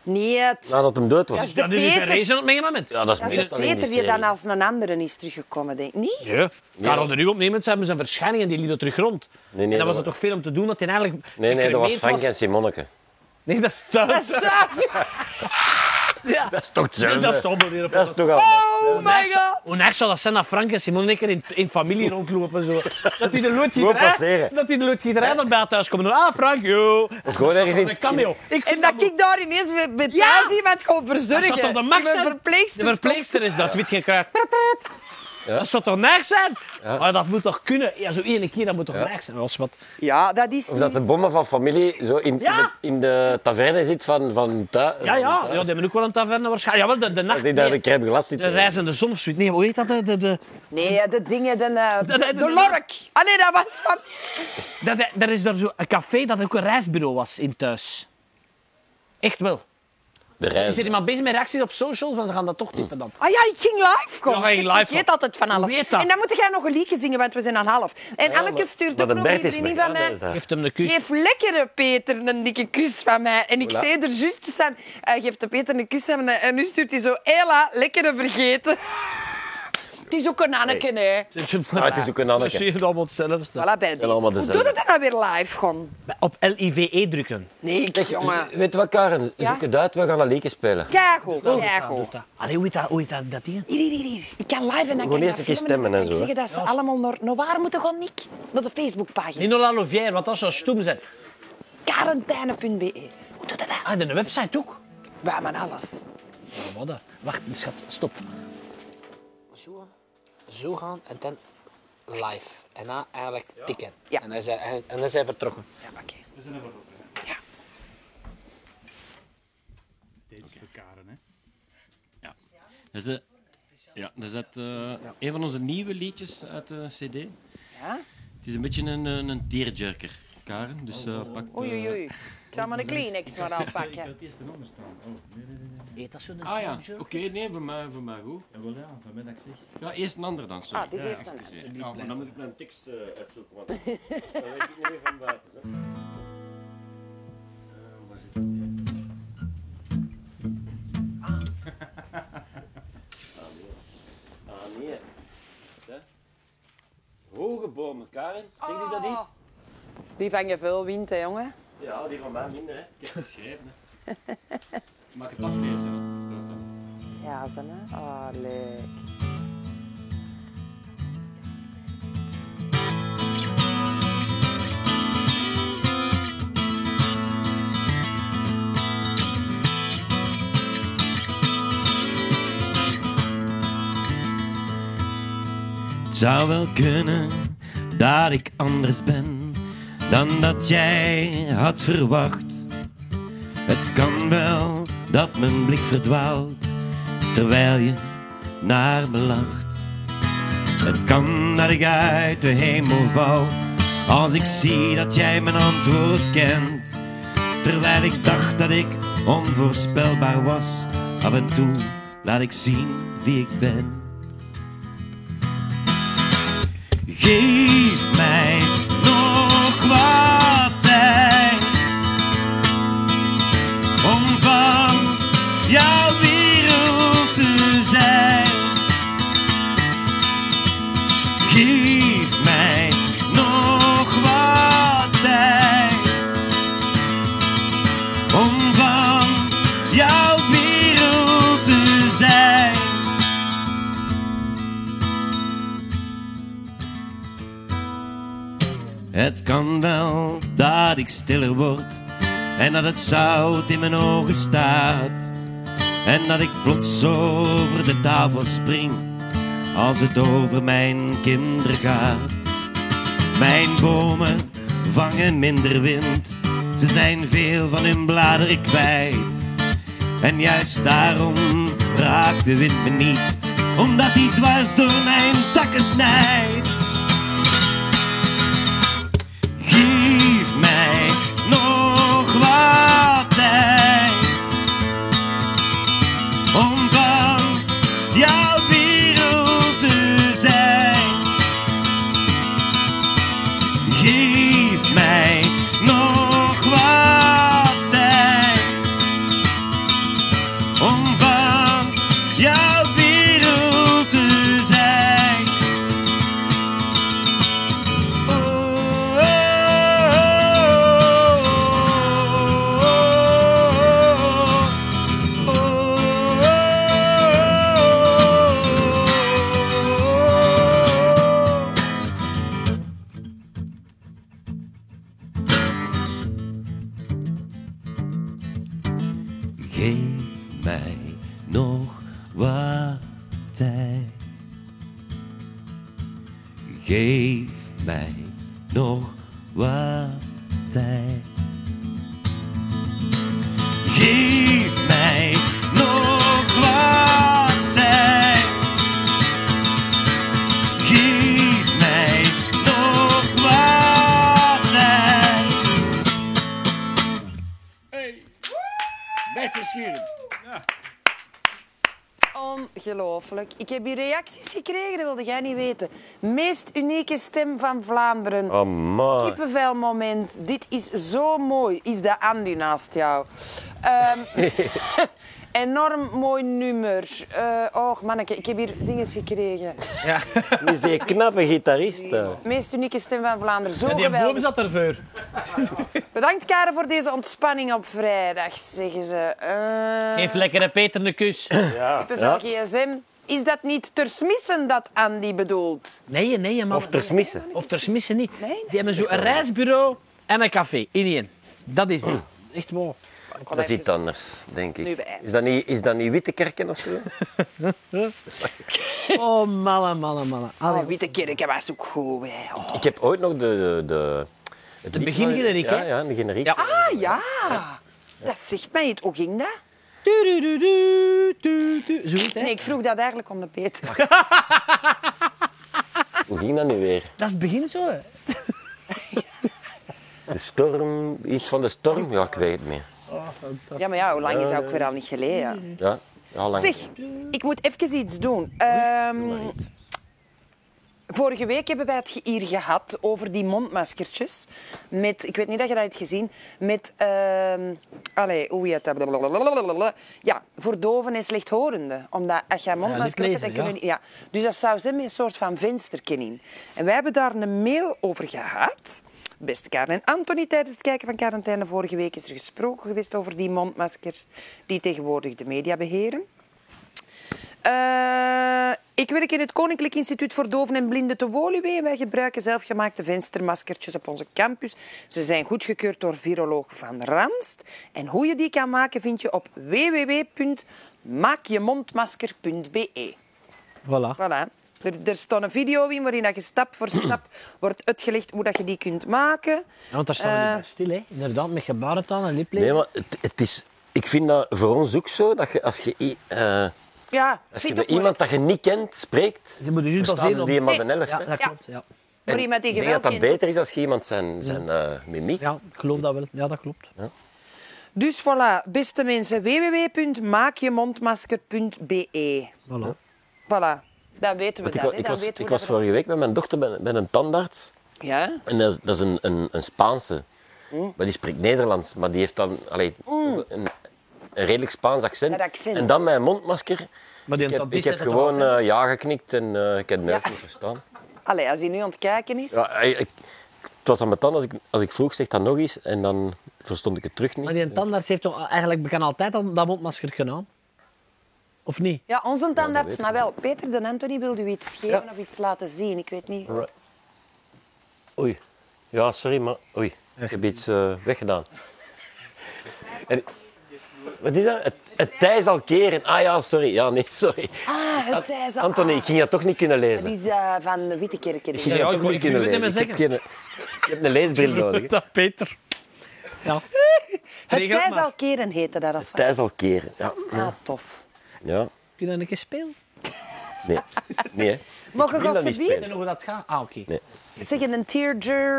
[SPEAKER 3] Nee, het-
[SPEAKER 4] Nadat hem dood was.
[SPEAKER 3] Dat is de
[SPEAKER 2] Ja, die is een
[SPEAKER 3] Peter.
[SPEAKER 2] race op een moment.
[SPEAKER 4] Ja, dat is
[SPEAKER 3] Dat is de
[SPEAKER 4] meestal in
[SPEAKER 3] Peter die
[SPEAKER 4] serie.
[SPEAKER 3] dan als een andere is teruggekomen, denk ik. Niet?
[SPEAKER 2] Ja. Daar hadden nu opnemen, ze hebben zijn verschijningen, die liepen terug rond.
[SPEAKER 4] nee,
[SPEAKER 2] en dan
[SPEAKER 4] dat
[SPEAKER 2] was het
[SPEAKER 4] wa-
[SPEAKER 2] toch veel om te doen, dat hij eigenlijk...
[SPEAKER 4] Nee, nee, dat was
[SPEAKER 2] gecremeerd
[SPEAKER 4] Frank en Simonneke.
[SPEAKER 2] Nee, dat is thuis.
[SPEAKER 3] Dat is oh thuis.
[SPEAKER 2] Ja.
[SPEAKER 4] is toch
[SPEAKER 2] Nee, dat is toch maar weer op
[SPEAKER 4] Dat is toch allemaal.
[SPEAKER 3] Oh my god.
[SPEAKER 2] Hoe erg zou dat zijn dat Frank en Simon en in, in familie rondlopen? Zo. Dat die de
[SPEAKER 4] Gewoon passeren.
[SPEAKER 2] loodgieterij, dat die de loodgieterij erbij thuis komen. Ah, Frank, yo.
[SPEAKER 4] gewoon ergens in-
[SPEAKER 2] een cameo. Ik
[SPEAKER 3] En
[SPEAKER 2] vind
[SPEAKER 3] dat ik daar ineens met, met
[SPEAKER 2] Ja.
[SPEAKER 3] thuis iemand gewoon
[SPEAKER 2] dat
[SPEAKER 3] verzorgen.
[SPEAKER 2] zou toch de max
[SPEAKER 3] Mijn
[SPEAKER 2] zijn?
[SPEAKER 3] verpleegster.
[SPEAKER 2] De verpleegster is dat, wit gekruid. Dat zou toch nergens zijn? Ah, dat moet toch kunnen? Ja, zo één keer, dat moet toch nergens zijn? Als wat.
[SPEAKER 3] Ja, dat is
[SPEAKER 4] Of dat de bommen van familie zo in,
[SPEAKER 2] Oh, Ja.
[SPEAKER 4] in, de, in de taverne zit van, van thuis.
[SPEAKER 2] Ja, ja, ja, die hebben ook wel een taverne waarschijnlijk. Jawel, de, de nacht.
[SPEAKER 4] Dat die daar
[SPEAKER 2] nee,
[SPEAKER 4] een crème glas zit.
[SPEAKER 2] de reizende zon of zoiets. Nee, hoe heet dat? De, de, de,
[SPEAKER 3] Nee, de dingen, de, eh, de,
[SPEAKER 2] nee,
[SPEAKER 3] de
[SPEAKER 2] de-
[SPEAKER 3] lork. Ah nee, dat was van...
[SPEAKER 2] dat, dat- dat is daar zo een café dat ook een reisbureau was in thuis. Echt wel.
[SPEAKER 4] De
[SPEAKER 2] Is er
[SPEAKER 4] reis.
[SPEAKER 2] iemand bezig met reacties op social? Van ze gaan dat toch typen dan.
[SPEAKER 3] Ah ja, ik ging live komen.
[SPEAKER 2] Ja, je
[SPEAKER 3] Zit,
[SPEAKER 2] ging live
[SPEAKER 3] ik weet
[SPEAKER 2] komen.
[SPEAKER 3] altijd van alles.
[SPEAKER 2] Hoe weet dat?
[SPEAKER 3] En dan moet jij nog een liedje zingen, want we zijn aan half. En Anneke stuurt ook
[SPEAKER 4] Maar de
[SPEAKER 3] nog een
[SPEAKER 4] Bert is
[SPEAKER 3] vriendin
[SPEAKER 4] weg.
[SPEAKER 3] van
[SPEAKER 4] Ah, dat
[SPEAKER 3] mij.
[SPEAKER 4] is daar.
[SPEAKER 2] Geef hem de kus.
[SPEAKER 3] Geef lekkere Peter een dikke kus van mij. En ik zei er juist eens aan, hij geeft de Peter een kus en, en nu stuurt hij zo, Ela, lekkere vergeten. Het is ook een Anneke, hè.
[SPEAKER 4] Ah, het is ook een Anneke.
[SPEAKER 2] Dat zie je allemaal hetzelfde.
[SPEAKER 3] Voilà, bij deze.
[SPEAKER 4] allemaal
[SPEAKER 3] Hoe doe
[SPEAKER 4] dezelfde.
[SPEAKER 3] je dat nou weer live, Gon?
[SPEAKER 2] Op LIVE E drukken.
[SPEAKER 3] Niks, jongen.
[SPEAKER 4] Weet je wat, Karen?
[SPEAKER 3] Ja?
[SPEAKER 4] Zoek het uit, we gaan een leekje spelen.
[SPEAKER 3] Kegel,
[SPEAKER 2] Doet
[SPEAKER 3] kegel.
[SPEAKER 2] dat. Allee, hoe heet dat, hoe heet dat, dat ding?
[SPEAKER 3] Hier, hier, hier, hier. Ik kan live en dan kan ik
[SPEAKER 4] Gewoon eerst
[SPEAKER 3] dat
[SPEAKER 4] een keer
[SPEAKER 3] filmen en dan
[SPEAKER 4] stemmen
[SPEAKER 3] kan
[SPEAKER 4] en
[SPEAKER 3] ik
[SPEAKER 4] zo, hè.
[SPEAKER 3] zeggen dat ze allemaal naar... Naar waar moeten gaan, Nick? Naar de Facebookpagina.
[SPEAKER 2] Nino Lalovière, want dat zou stom zijn.
[SPEAKER 3] Quarantaine.be. E. Hoe doe je dat?
[SPEAKER 2] Ah, de website ook.
[SPEAKER 3] Bij mijn alles.
[SPEAKER 2] Oh, wat dat? Wacht, schat, stop.
[SPEAKER 6] zo, zo gaan en dan live. En dan eigenlijk tikken.
[SPEAKER 3] Ja.
[SPEAKER 6] En, dan zijn, en, en dan zijn we vertrokken.
[SPEAKER 3] Ja, oké.
[SPEAKER 7] Deze voor Karen, hè?
[SPEAKER 1] Dat is, eh, ja, dat is uit, eh, een van onze nieuwe liedjes uit de CD.
[SPEAKER 3] Ja?
[SPEAKER 1] Het is een beetje een, een, een tearjerker, Karen. Dus eh pak. eh,
[SPEAKER 3] Oh. Oei, oei, oei. Ik zal maar een Kleenex maar
[SPEAKER 7] Ik had
[SPEAKER 3] aanpakken.
[SPEAKER 7] het eerst een ander staan. Oh, nee, nee, nee. nee.
[SPEAKER 2] Eet dat zo'n
[SPEAKER 1] Ah ja, oké, nee, voor mij, voor mij goed.
[SPEAKER 7] Ja, wel ja, dat ben ik zeg.
[SPEAKER 1] Ja, eerst een ander dan,
[SPEAKER 3] Ah,
[SPEAKER 1] sorry.
[SPEAKER 3] het is eerst een...
[SPEAKER 1] Ja, maar dan moet ik mijn tekst eh, uitzoeken, want dan weet ik niet meer van buiten. Hè. Eh, waar zit het? Ah. Ah, nee. Ah, nee. Hè? Hoge bomen, Karen. Zeg je dat
[SPEAKER 2] Oh.
[SPEAKER 1] niet?
[SPEAKER 3] Die vangen veel wind, hè, jongen.
[SPEAKER 1] Ja, die van mij minder, hè. Ik heb het geschreven, hè. Ik Maak het aflezen, hè. Staat dat.
[SPEAKER 3] Ja, ze, hè. Ah, leuk.
[SPEAKER 1] Het zou wel kunnen dat ik anders ben dan dat jij had verwacht. Het kan wel dat mijn blik verdwaalt terwijl je naar me lacht. Het kan dat ik uit de hemel val als ik zie dat jij mijn antwoord kent. Terwijl ik dacht dat ik onvoorspelbaar was, af en toe laat ik zien wie ik ben. Geef mij nog wat tijd om van jouw wereld te zijn. Geef mij nog wat tijd om van jouw wereld te zijn. Het kan wel dat ik stiller word En dat het zout in mijn ogen staat. En dat ik plots over de tafel spring. Als het over mijn kinderen gaat. Mijn bomen vangen minder wind. Ze zijn veel van hun bladeren kwijt. En juist daarom raakt de wind me niet, omdat hij dwars door mijn takken snijdt. Geef mij nog wat tijd om van jouw wereld te zijn. Geef mij nog wat tijd om van jouw wereld te zijn. Oh, oh, oh, oh, oh, oh, oh. Geef mij nog wat tijd. Geef mij nog wat tijd. Geef mij nog wat tijd. Geef mij nog wat tijd. Beter schieren.
[SPEAKER 3] Ongelooflijk. Ik heb hier reacties gekregen, dat wilde jij niet weten. Meest unieke stem van Vlaanderen.
[SPEAKER 4] Oh man.
[SPEAKER 3] Kippenvel moment. Dit is zo mooi. Is de Andy naast jou? Ehm, enorm mooi nummer. Eh och, manneke, ik heb hier dingen gekregen.
[SPEAKER 4] Wie is die knappe gitarist? hè?
[SPEAKER 3] Meest unieke stem van Vlaanderen. Zo
[SPEAKER 2] Die boom
[SPEAKER 3] geweldig.
[SPEAKER 2] zat ervoor.
[SPEAKER 3] Bedankt, Karen, voor deze ontspanning op vrijdag, zeggen ze. Eh,
[SPEAKER 2] Geef lekkere Peter een kus.
[SPEAKER 3] Kippenvel gsm. Is dat niet ter smissen dat Andy bedoelt?
[SPEAKER 2] Nee, nee, man.
[SPEAKER 4] Of ter smissen.
[SPEAKER 2] Of ter smissen niet.
[SPEAKER 3] Nee, nee.
[SPEAKER 2] Die hebben zo'n reisbureau en een café in één. Dat is het. Echt mooi.
[SPEAKER 4] Dat is iets anders, denk
[SPEAKER 3] Nu
[SPEAKER 4] ik.
[SPEAKER 3] bij.
[SPEAKER 4] Is dat niet, is dat niet Witte Kerken of zo?
[SPEAKER 2] Oh, malle, malle, malle. Allee.
[SPEAKER 3] Oh, Witte Kerk, hij was ook goed. Hè. Oh.
[SPEAKER 4] Ik heb ooit nog de... de, de het lied van-
[SPEAKER 2] begingeneriek,
[SPEAKER 4] ja,
[SPEAKER 2] hè?
[SPEAKER 4] Ja, de generiek.
[SPEAKER 2] Ja.
[SPEAKER 3] Ah, ja. Dat zegt mij het. Hoe ging dat?
[SPEAKER 2] Tudududu, tudu. Zo goed, hè?
[SPEAKER 3] Nee, ik vroeg dat eigenlijk om de Peter.
[SPEAKER 4] Hoe ging dat nu weer?
[SPEAKER 2] Dat is het begin zo. hè.
[SPEAKER 4] De storm, iets van de storm? Ja, ik weet het niet.
[SPEAKER 3] Ja, maar ja, hoe lang is dat ook weer al niet geleden?
[SPEAKER 4] Ja, al lang.
[SPEAKER 3] Zeg, ik moet even iets doen. Ehm, vorige week hebben wij het ge- hier gehad over die mondmaskertjes. Met, ik weet niet dat je dat hebt gezien. Met, ehm allee, hoe heet dat? Blablabla. Ja, voor doven en slechthorenden. Omdat als je een mondmasker hebt, dan
[SPEAKER 2] liplezer, ja.
[SPEAKER 3] kunnen niet... Ja. Dus dat zou zijn met een soort van vensterken in. En wij hebben daar een mail over gehad. Beste Karen en Anthony, tijdens het kijken van Quarantaine vorige week is er gesproken geweest over die mondmaskers die tegenwoordig de media beheren. Eh, ik werk in het Koninklijk Instituut voor Doven en Blinden te Woluwe. en Wij gebruiken zelfgemaakte venstermaskertjes op onze campus. Ze zijn goedgekeurd door viroloog Van Ranst. En hoe je die kan maken vind je op www.maakjemondmasker.be.
[SPEAKER 2] Voilà.
[SPEAKER 3] Voilà. Er, er staat een video in waarin dat je stap voor stap wordt uitgelegd hoe dat je die kunt maken.
[SPEAKER 2] Ja, want daar staan
[SPEAKER 3] Eh.
[SPEAKER 2] we niet bij stil, hè. Inderdaad, met gebarentaal en liplezen.
[SPEAKER 4] Nee, maar het, het is... Ik vind dat voor ons ook zo, dat je als je, i- eh,
[SPEAKER 3] Ja, vind
[SPEAKER 4] als je
[SPEAKER 3] ik ook
[SPEAKER 4] met
[SPEAKER 3] moeilijk.
[SPEAKER 4] iemand dat je niet kent spreekt,
[SPEAKER 2] Ze moeten juist
[SPEAKER 4] verstaan
[SPEAKER 2] baseren op...
[SPEAKER 4] die maar de helft.
[SPEAKER 2] Ja,
[SPEAKER 4] hè.
[SPEAKER 2] dat
[SPEAKER 3] Ja.
[SPEAKER 2] klopt. Ja.
[SPEAKER 3] Maar iemand die
[SPEAKER 4] ik
[SPEAKER 3] je
[SPEAKER 4] denk dat
[SPEAKER 3] wel
[SPEAKER 4] dat
[SPEAKER 3] kent.
[SPEAKER 4] beter is als je iemand zijn, zijn eh, mimiek...
[SPEAKER 2] ja, ik geloof dat wel. Ja, dat klopt.
[SPEAKER 3] Dus voilà, beste mensen, www.maakjemondmasker.be.
[SPEAKER 2] Voilà.
[SPEAKER 3] Voilà, dan weten we
[SPEAKER 4] Want
[SPEAKER 3] dat. hè.
[SPEAKER 4] ik, wa- ik
[SPEAKER 3] Dan
[SPEAKER 4] was,
[SPEAKER 3] weten we dat
[SPEAKER 4] ik was
[SPEAKER 3] er-
[SPEAKER 4] vorige week met mijn dochter bij, bij een tandarts.
[SPEAKER 3] Ja?
[SPEAKER 4] En dat is, dat is een, een, een Spaanse. Maar die spreekt Nederlands. Maar die heeft dan allee, een, een redelijk Spaans accent.
[SPEAKER 3] Dat accent.
[SPEAKER 4] En dan mijn mondmasker.
[SPEAKER 2] Maar die
[SPEAKER 4] ik heb,
[SPEAKER 2] tandist
[SPEAKER 4] ik heb
[SPEAKER 2] zet het
[SPEAKER 4] gewoon
[SPEAKER 2] erop, hè.
[SPEAKER 4] eh, ja geknikt en eh, ik heb mij ook niet verstaan.
[SPEAKER 3] Allee, als hij nu aan het kijken is.
[SPEAKER 4] Ja, eh, ik, ik- het was aan mijn tand als ik, als ik vroeg, zeg dat nog eens. En dan verstond ik het terug
[SPEAKER 2] Maar
[SPEAKER 4] niet.
[SPEAKER 2] die tandarts heeft toch eigenlijk bekend altijd dat, dat mondmasker gedaan? Of niet?
[SPEAKER 3] Ja, onze tandarts,
[SPEAKER 4] weten
[SPEAKER 3] nou wel. Peter de Anthony wilde u iets geven of iets laten zien, ik weet niet.
[SPEAKER 4] Alright. Oei. Ja, sorry, maar oei. Ik heb iets eh, weggedaan. En- wat is dat? Het, het tij zal keren. Ah ja, sorry. Ja, nee, sorry.
[SPEAKER 3] Ah, het is dat.
[SPEAKER 4] Anthony, ik ging dat toch niet kunnen
[SPEAKER 3] Dat
[SPEAKER 4] lezen.
[SPEAKER 3] is eh, van de Wittekerken.
[SPEAKER 4] Ik
[SPEAKER 3] denk ik.
[SPEAKER 4] ging
[SPEAKER 2] Ja, ik
[SPEAKER 4] dat toch
[SPEAKER 2] wou-
[SPEAKER 4] niet
[SPEAKER 2] ik
[SPEAKER 4] kunnen
[SPEAKER 2] wou het
[SPEAKER 4] lezen. Ik
[SPEAKER 2] net
[SPEAKER 4] heb, geen, ik heb een leesbril nodig. hè.
[SPEAKER 2] Dat Peter. Ja.
[SPEAKER 3] Het
[SPEAKER 2] Regel het
[SPEAKER 3] tij
[SPEAKER 2] maar.
[SPEAKER 3] zal keren heette dat. Of...
[SPEAKER 4] Het tij zal keren. Ja.
[SPEAKER 3] Ah, tof.
[SPEAKER 4] ja.
[SPEAKER 2] Kun je dat een keer spelen?
[SPEAKER 4] Nee. Nee, hè.
[SPEAKER 3] Mogen we
[SPEAKER 4] wil dat
[SPEAKER 3] ze
[SPEAKER 4] niet
[SPEAKER 2] En
[SPEAKER 3] bieden?
[SPEAKER 2] hoe dat gaat? Ah, oké.
[SPEAKER 4] Nee.
[SPEAKER 3] Zeggen een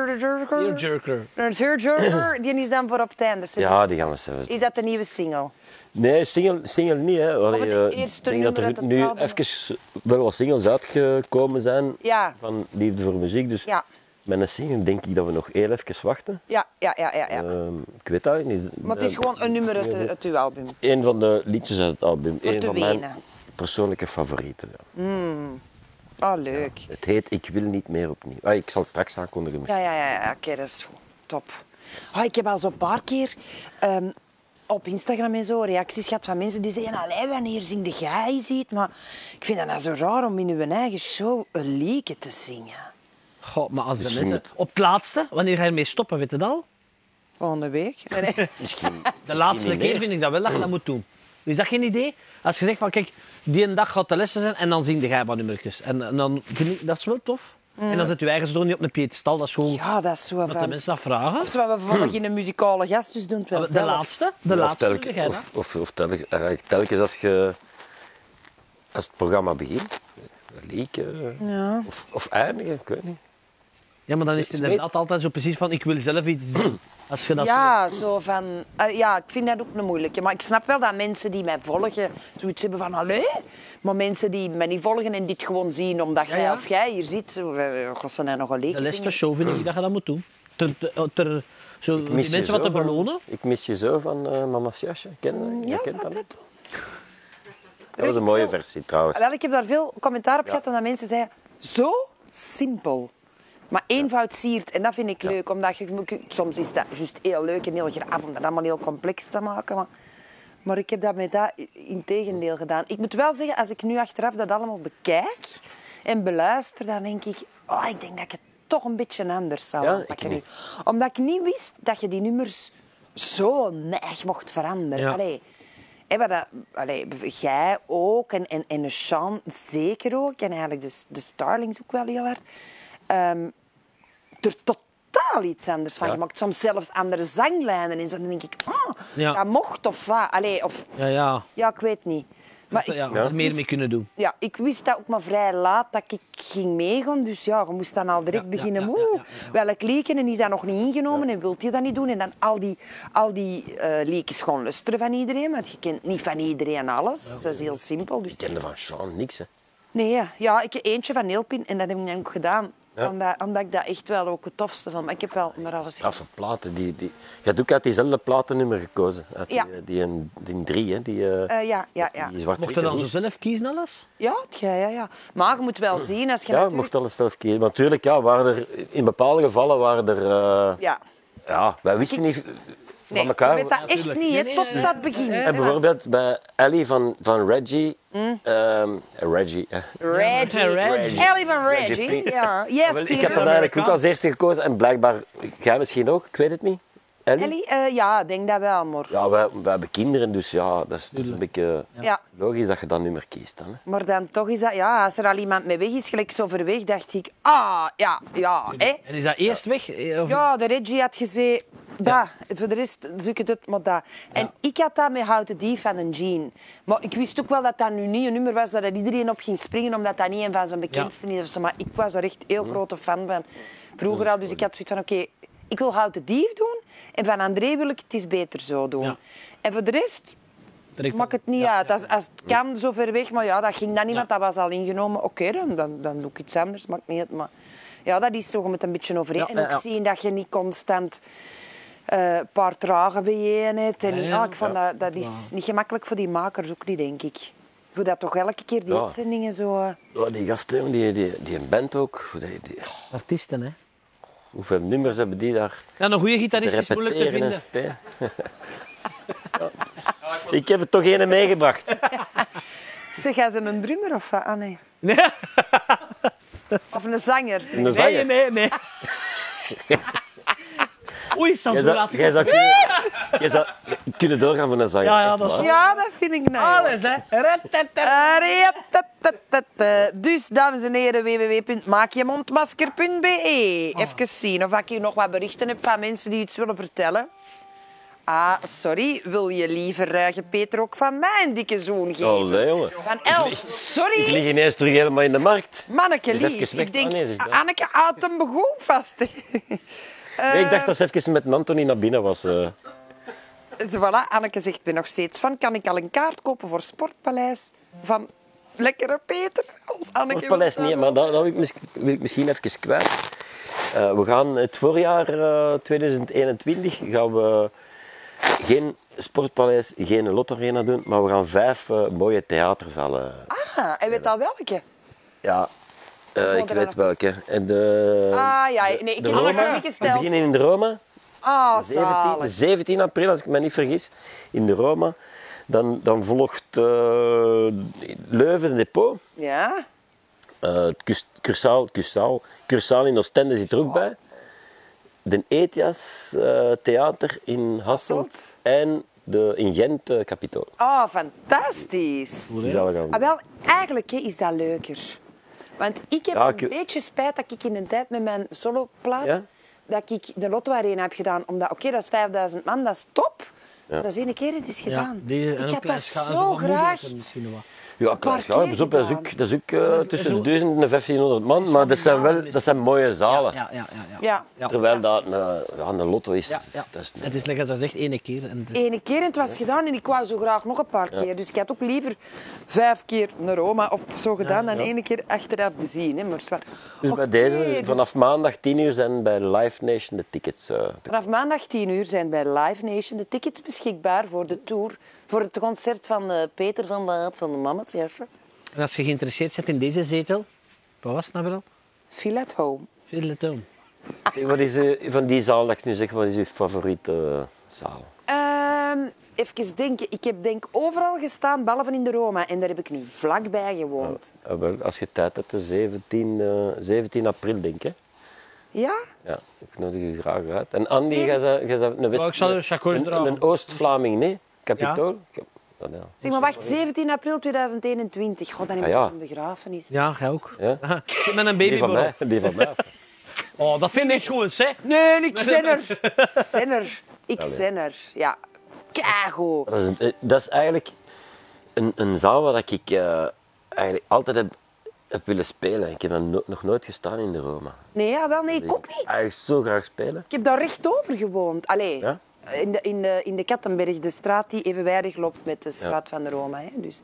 [SPEAKER 3] tearjerker?
[SPEAKER 2] Tearjerker.
[SPEAKER 3] Een tearjerker, die is dan voor op het einde. ze bieden.
[SPEAKER 4] Ja, die gaan we zelfs.
[SPEAKER 3] Is dat de nieuwe single?
[SPEAKER 4] Nee, single, single niet. Hè. Allee,
[SPEAKER 3] het
[SPEAKER 4] eh,
[SPEAKER 3] eerste
[SPEAKER 4] ik denk dat
[SPEAKER 3] nummer
[SPEAKER 4] er
[SPEAKER 3] uit het
[SPEAKER 4] nu
[SPEAKER 3] album.
[SPEAKER 4] even wel wat singles uitgekomen zijn
[SPEAKER 3] Ja.
[SPEAKER 4] van Liefde voor Muziek. Dus
[SPEAKER 3] Ja.
[SPEAKER 4] met een single denk ik dat we nog heel even wachten.
[SPEAKER 3] Ja, ja, ja, ja. ja.
[SPEAKER 4] Ehm, ik weet dat niet.
[SPEAKER 3] maar het is
[SPEAKER 4] Eh,
[SPEAKER 3] gewoon een nummer uit, uit uw album.
[SPEAKER 4] Een van de liedjes uit het album.
[SPEAKER 3] Voor
[SPEAKER 4] een
[SPEAKER 3] te
[SPEAKER 4] van mijn
[SPEAKER 3] wenen.
[SPEAKER 4] persoonlijke favorieten. ja.
[SPEAKER 3] Ah, leuk.
[SPEAKER 4] Het heet Ik wil niet meer opnieuw. Ah, ik zal het straks aankondigen.
[SPEAKER 3] Ja, ja, ja, ja. oké, dat is goed. Top. Ah, ik heb al zo'n paar keer ehm, op Instagram en zo reacties gehad van mensen die zeggen: Allee, wanneer zing de jij ziet? Maar ik vind dat nou zo raar om in uw eigen show een liedje te zingen.
[SPEAKER 2] Goh, maar als de
[SPEAKER 4] Misschien
[SPEAKER 2] mensen... Op het laatste, wanneer ga je ermee stoppen, weet je dat al?
[SPEAKER 3] Volgende week. Nee, nee.
[SPEAKER 4] Misschien.
[SPEAKER 2] De laatste
[SPEAKER 4] niet
[SPEAKER 2] keer
[SPEAKER 4] meer.
[SPEAKER 2] vind ik dat wel dat je dat moet doen. Is dat geen idee? Als je zegt van kijk, die een dag gaat de lessen zijn en dan zien de wat nummertjes. En, en dan vind ik, dat is wel tof. En dan zet je eigen zoon niet op een piedestal. Dat is gewoon
[SPEAKER 3] Mm. Ja, dat is zo
[SPEAKER 2] dat de
[SPEAKER 3] van.
[SPEAKER 2] mensen dat vragen.
[SPEAKER 3] Of zijn we vervolgens in een muzikale gast, dus doen het wel
[SPEAKER 2] de
[SPEAKER 3] zelf.
[SPEAKER 2] laatste, de
[SPEAKER 4] Of
[SPEAKER 2] laatste
[SPEAKER 4] telkens-
[SPEAKER 2] doe jij dat.
[SPEAKER 4] of, of, of telkens, eigenlijk telkens als, je, als het programma begint. Lieken. Of, of eindigen, ik weet niet.
[SPEAKER 2] Ja, maar dan is het
[SPEAKER 4] Zweet.
[SPEAKER 2] inderdaad altijd zo precies van ik wil zelf iets doen. Als je dat
[SPEAKER 3] Ja, zo van, eh, ja, ik vind dat ook een moeilijke. Maar ik snap wel dat mensen die mij volgen zoiets hebben van... Allee? Maar mensen die mij niet volgen en dit gewoon zien omdat jij
[SPEAKER 2] ja.
[SPEAKER 3] of jij hier zit... Goh, ze nog een
[SPEAKER 2] zo, de
[SPEAKER 3] leek
[SPEAKER 2] laatste show vind ik dat je dat moet doen. Ter, ter, ter- zo, die
[SPEAKER 4] mis je
[SPEAKER 2] mensen wat
[SPEAKER 4] zo
[SPEAKER 2] te
[SPEAKER 4] van-
[SPEAKER 2] belonen.
[SPEAKER 4] Ik mis je zo van eh, Mama's jasje. Ken, je- je
[SPEAKER 3] Mm, Ja,
[SPEAKER 4] kent
[SPEAKER 3] zou
[SPEAKER 4] dat?
[SPEAKER 3] dat doen?
[SPEAKER 4] Dat was een mooie versie trouwens.
[SPEAKER 3] Wel, ik heb daar veel commentaar op gehad omdat mensen zeiden... Zo simpel. Maar eenvoud siert. En dat vind ik leuk. Omdat je, je- soms is dat juist heel leuk en heel graaf om dat allemaal heel complex te maken. Maar, maar ik heb dat met dat in
[SPEAKER 4] Hm.
[SPEAKER 3] tegendeel gedaan. Ik moet wel zeggen, als ik nu achteraf dat allemaal bekijk en beluister, dan denk ik... Oh, ik denk dat ik het toch een beetje anders zou
[SPEAKER 4] Ja,
[SPEAKER 3] aanpakken
[SPEAKER 4] ik
[SPEAKER 3] nu. Omdat ik niet wist dat je die nummers zo neig mocht veranderen.
[SPEAKER 2] Ja.
[SPEAKER 3] Allee, hè, wat dat, allee, jij ook en, en, en Sean zeker ook. En eigenlijk de, de Starlings ook wel heel hard. Ehm, er totaal iets anders van gemaakt. Soms zelfs andere zanglijnen. En zo dan denk ik, ah,
[SPEAKER 2] Ja.
[SPEAKER 3] dat mocht of wat. Allee, of,
[SPEAKER 2] Ja, ja.
[SPEAKER 3] ja, ik weet niet. Maar
[SPEAKER 2] ja,
[SPEAKER 3] ik, ja.
[SPEAKER 2] er meer mee kunnen doen.
[SPEAKER 3] ik wist dat ook maar vrij laat dat ik ging meegaan. Dus ja, je moest dan al direct
[SPEAKER 2] Ja, ja,
[SPEAKER 3] beginnen.
[SPEAKER 2] ja, ja,
[SPEAKER 3] Oeh,
[SPEAKER 2] ja,
[SPEAKER 3] welk leken en is dat nog niet ingenomen en wilt je dat niet doen? En dan al die, al die eh lekens gewoon lusteren van iedereen. Want je kent niet van iedereen alles. dat is heel simpel. Dus
[SPEAKER 4] Ik kende van Sean niks. Hè.
[SPEAKER 3] Nee, ja. ja, ik heb eentje van Neelpin en dat heb ik dan ook gedaan.
[SPEAKER 4] Ja.
[SPEAKER 3] Omdat, omdat ik dat echt wel ook het tofste vond. Maar ik heb wel onder alles
[SPEAKER 4] Straffe platen. Die, die... Je hebt ook uit diezelfde platennummer gekozen. Uit die,
[SPEAKER 3] Ja.
[SPEAKER 4] eh, die, een- die drie, hè? Die, eh,
[SPEAKER 3] Eh, ja, ja, ja.
[SPEAKER 4] die zwart
[SPEAKER 2] Mocht je dan zo zelf kiezen alles?
[SPEAKER 3] Ja, het gij, ja, ja. Maar je moet wel zien als je
[SPEAKER 4] Ja, je
[SPEAKER 3] natuurlijk...
[SPEAKER 4] mocht alles zelf kiezen. Maar natuurlijk, ja, waren er, in bepaalde gevallen waren er... eh,
[SPEAKER 3] Ja.
[SPEAKER 4] Ja, wij wisten niet
[SPEAKER 3] Nee,
[SPEAKER 4] van elkaar.
[SPEAKER 3] je weet dat echt
[SPEAKER 2] tuurlijk.
[SPEAKER 3] niet, hè,
[SPEAKER 2] Nee, nee,
[SPEAKER 3] tot
[SPEAKER 2] nee.
[SPEAKER 3] dat begint.
[SPEAKER 4] En bijvoorbeeld bij Ellie van, van Reggie.
[SPEAKER 3] Mm.
[SPEAKER 4] ehm, Reggie, hè.
[SPEAKER 3] Reggie.
[SPEAKER 2] Reggie.
[SPEAKER 3] Ellie van Reggie.
[SPEAKER 4] Reggie P.
[SPEAKER 3] Ja. Yes,
[SPEAKER 4] Wel, ik heb dat
[SPEAKER 3] Peter.
[SPEAKER 4] eigenlijk ook als eerste gekozen en blijkbaar, jij misschien ook, ik weet het niet. Ellie?
[SPEAKER 3] Ellie? eh, ja, ik denk dat wel, maar... Ja.
[SPEAKER 4] Ja, wij, wij hebben kinderen, dus ja, dat is, dat is een beetje logisch dat je dat nummer kiest. Dan, hè.
[SPEAKER 3] Maar dan toch is dat... Ja, als er al iemand mee weg is, gelijk zo verweg, dacht ik... Ah, ja, ja, hè.
[SPEAKER 2] En is dat eerst weg? eh, Of...
[SPEAKER 3] Ja, de Reggie had gezegd, dat. Voor de rest zoek het het maar dat. En ik had dat met Houten Dief en een Jean. Maar ik wist ook wel dat dat nu niet een nummer was dat er iedereen op ging springen, omdat dat niet een van zijn bekendsten is. of zo. Maar ik was er echt heel grote fan van. Vroeger al, dus ik had zoiets van, oké, ik wil Houten Dief doen. En van André wil ik het is beter zo doen.
[SPEAKER 2] Ja.
[SPEAKER 3] En voor de rest
[SPEAKER 2] Direct-
[SPEAKER 3] maakt het niet uit. Als, als het kan, zo ver weg. Maar ja, dat ging dan niet, want dat was al ingenomen. Oké, dan, dan, dan doe ik iets anders, maakt niet uit. Maar ja, dat is zo, je moet een beetje overeen.
[SPEAKER 2] Ja,
[SPEAKER 3] en
[SPEAKER 2] ja,
[SPEAKER 3] ook
[SPEAKER 2] ja.
[SPEAKER 3] zien dat je niet constant eh, een paar trage bijeen hebt. En,
[SPEAKER 2] Ja,
[SPEAKER 3] ja,
[SPEAKER 2] ja.
[SPEAKER 3] ik vond dat, dat is niet gemakkelijk voor die makers ook niet, denk ik. Hoe dat toch elke keer die
[SPEAKER 4] Ja.
[SPEAKER 3] uitzendingen zo... eh,
[SPEAKER 4] Ja, die gasten, die, die, die band ook, die- die-
[SPEAKER 2] Artiesten, hè?
[SPEAKER 4] hoeveel nummers hebben die daar
[SPEAKER 2] Ja, een goede
[SPEAKER 4] te
[SPEAKER 2] gitarist is moeilijk te
[SPEAKER 4] repeteren en
[SPEAKER 2] vinden.
[SPEAKER 4] spelen? Ja. Ik heb er toch een meegebracht.
[SPEAKER 3] Zeg, jij ze een drummer of wat? Ah, nee. Of een zanger.
[SPEAKER 4] Een
[SPEAKER 2] Nee,
[SPEAKER 4] zanger.
[SPEAKER 2] nee, nee. Oei, Sas,
[SPEAKER 4] Jij
[SPEAKER 2] hoe laat
[SPEAKER 4] zou-
[SPEAKER 2] ik
[SPEAKER 4] jij
[SPEAKER 2] het
[SPEAKER 4] zou kunnen- Je zou kunnen doorgaan van een zanger.
[SPEAKER 2] Ja, ja,
[SPEAKER 4] echt
[SPEAKER 2] dat is
[SPEAKER 4] waar.
[SPEAKER 3] Ja, dat vind ik nou.
[SPEAKER 2] Alles, hè. Ratatata.
[SPEAKER 3] Arretatata. Dus, dames en heren, www.maakjemondmasker.be.
[SPEAKER 4] Ah.
[SPEAKER 3] Even zien of ik hier nog wat berichten heb van mensen die iets willen vertellen. Ah, sorry. Wil je liever ruige Peter ook van mij een dikke zoen geven?
[SPEAKER 4] Allee, jongen.
[SPEAKER 3] Van Els,
[SPEAKER 4] Ik
[SPEAKER 3] sorry.
[SPEAKER 4] lig ineens terug helemaal in de markt.
[SPEAKER 3] Manneke
[SPEAKER 4] Is
[SPEAKER 3] lief.
[SPEAKER 4] even weg.
[SPEAKER 3] Ik denk,
[SPEAKER 4] Ah, nee, ze is daar.
[SPEAKER 3] Anneke houdt hem begon vast.
[SPEAKER 4] Nee,
[SPEAKER 3] Eh,
[SPEAKER 4] ik dacht dat ze even met Anthony naar binnen was. eh.
[SPEAKER 3] Dus voilà, Anneke zegt ben nog steeds van, kan ik al een kaart kopen voor Sportpaleis van lekkere Peter? Als Anneke
[SPEAKER 4] Het paleis
[SPEAKER 3] wil
[SPEAKER 4] niet, maar dat, dat wil, ik mis- wil ik misschien even kwijt. Eh, we gaan het voorjaar eh, 2021 gaan we geen sportpaleis, geen lotarena doen, maar we gaan vijf eh, mooie theaterzalen.
[SPEAKER 3] Ah, hij weet al welke.
[SPEAKER 4] Ja, eh, ik
[SPEAKER 3] er
[SPEAKER 4] weet
[SPEAKER 3] nog
[SPEAKER 4] welke. En de,
[SPEAKER 3] Ah ja, nee, ik
[SPEAKER 4] de
[SPEAKER 3] heb het
[SPEAKER 4] Roma.
[SPEAKER 3] nog niet
[SPEAKER 4] we
[SPEAKER 3] gesteld.
[SPEAKER 4] beginnen dus- in de Roma.
[SPEAKER 3] Ah,
[SPEAKER 4] 17, de
[SPEAKER 3] zalig.
[SPEAKER 4] 17 april, als ik me niet vergis, in de Roma. Dan, dan volgt eh, Leuven Depot.
[SPEAKER 3] Ja?
[SPEAKER 4] Eh, het Cus- Cursaal, Cursaal, Cursaal in Oostende zit er ook bij. De Etias eh, Theater in Hasselt.
[SPEAKER 3] Hasselt.
[SPEAKER 4] En de, in Gent eh, Capitool.
[SPEAKER 3] Oh, fantastisch.
[SPEAKER 4] Die zouden gaan
[SPEAKER 3] Ah,
[SPEAKER 4] doen.
[SPEAKER 3] wel, eigenlijk hè, is dat leuker. Want ik heb
[SPEAKER 4] Ja,
[SPEAKER 3] een
[SPEAKER 4] ik-
[SPEAKER 3] beetje spijt dat ik in een tijd met mijn soloplaat...
[SPEAKER 4] Ja?
[SPEAKER 3] dat ik de Lotto Arena heb gedaan. Omdat, oké, dat is 5000 man, dat is top. Dat is één keer, het is gedaan.
[SPEAKER 2] die- en
[SPEAKER 3] ik
[SPEAKER 2] een
[SPEAKER 3] had dat
[SPEAKER 2] prijs gaan ze
[SPEAKER 3] zo
[SPEAKER 2] wat moeilijker
[SPEAKER 3] graag...
[SPEAKER 2] Misschien nog wat.
[SPEAKER 4] Ja, klaar.
[SPEAKER 3] keer
[SPEAKER 4] Ja, pas op, dat is
[SPEAKER 3] gedaan.
[SPEAKER 4] ook, dat is ook eh, tussen
[SPEAKER 2] zo-
[SPEAKER 4] 1000 en 1500 man. Maar dat zijn, wel, dat zijn mooie zalen.
[SPEAKER 2] Ja, ja, ja. ja.
[SPEAKER 3] Ja.
[SPEAKER 2] ja.
[SPEAKER 4] Terwijl dat eh, ja, een lotto is.
[SPEAKER 2] Ja, ja.
[SPEAKER 4] Dat is
[SPEAKER 2] Het is lekker, dat is echt één keer. En het is-
[SPEAKER 3] Eén keer en het was gedaan en ik wou zo graag nog een paar keer. Dus ik had ook liever vijf keer naar Roma of zo gedaan dan één keer achteraf bezien. Hè. Maar zwaar.
[SPEAKER 4] dus bij deze, vanaf maandag 10 uur zijn bij Live Nation de tickets. eh, te-
[SPEAKER 3] Vanaf maandag 10 uur zijn bij Live Nation de tickets beschikbaar voor de tour. Voor het concert van eh, Peter van de Haat van de Mammoth. Ja.
[SPEAKER 2] En als je geïnteresseerd bent in deze zetel, wat was het nou weer al?
[SPEAKER 3] Feel at home.
[SPEAKER 2] Fiddle at home.
[SPEAKER 4] Wat is eh, van die zaal dat ik nu zeg, wat is uw favoriete eh, zaal?
[SPEAKER 3] Ehm, even denken. Ik heb denk overal gestaan, behalve in de Roma. En daar heb ik nu vlakbij gewoond.
[SPEAKER 4] Ah, wel, als je tijd hebt, de 17, eh, 17 april, denk ik. hè?
[SPEAKER 3] Ja?
[SPEAKER 4] Ja, ik nodig je graag uit. En Andy, jij
[SPEAKER 3] Zeven-
[SPEAKER 4] zou- jij zou een West...
[SPEAKER 2] Oh, ik zal de chacots
[SPEAKER 4] een,
[SPEAKER 2] dragen.
[SPEAKER 4] een Oost-Vlaming, nee? Capitool? Ik heb- Dat, Dus, eh, ja.
[SPEAKER 3] Zeg maar, wacht. 17 april 2021. God, dan heb
[SPEAKER 4] Ah,
[SPEAKER 3] ik
[SPEAKER 4] ja.
[SPEAKER 3] een begrafenis.
[SPEAKER 2] Ja, jij ook.
[SPEAKER 4] Ja.
[SPEAKER 2] Aha, ik Zit met een
[SPEAKER 4] Die van mij.
[SPEAKER 2] baby.
[SPEAKER 4] Die van mij.
[SPEAKER 2] Oh, dat vind ik schoon, zeg.
[SPEAKER 3] Nee, ik zin er. Ik zin er. Ik zin er. Ja. Kago.
[SPEAKER 4] Dat is, eh, dat is eigenlijk een, een zaal waar ik eh, eigenlijk altijd heb, heb willen spelen. Ik heb dan no- nog nooit gestaan in de Roma.
[SPEAKER 3] Nee, ja, wel, nee, ik ook niet.
[SPEAKER 4] Eigenlijk zo graag spelen.
[SPEAKER 3] Ik heb daar rechtover gewoond. Allee,
[SPEAKER 4] Ja?
[SPEAKER 3] in, de, in, de, in de Kattenberg, de straat die evenwijdig loopt met de straat van de Roma. Hè. Dus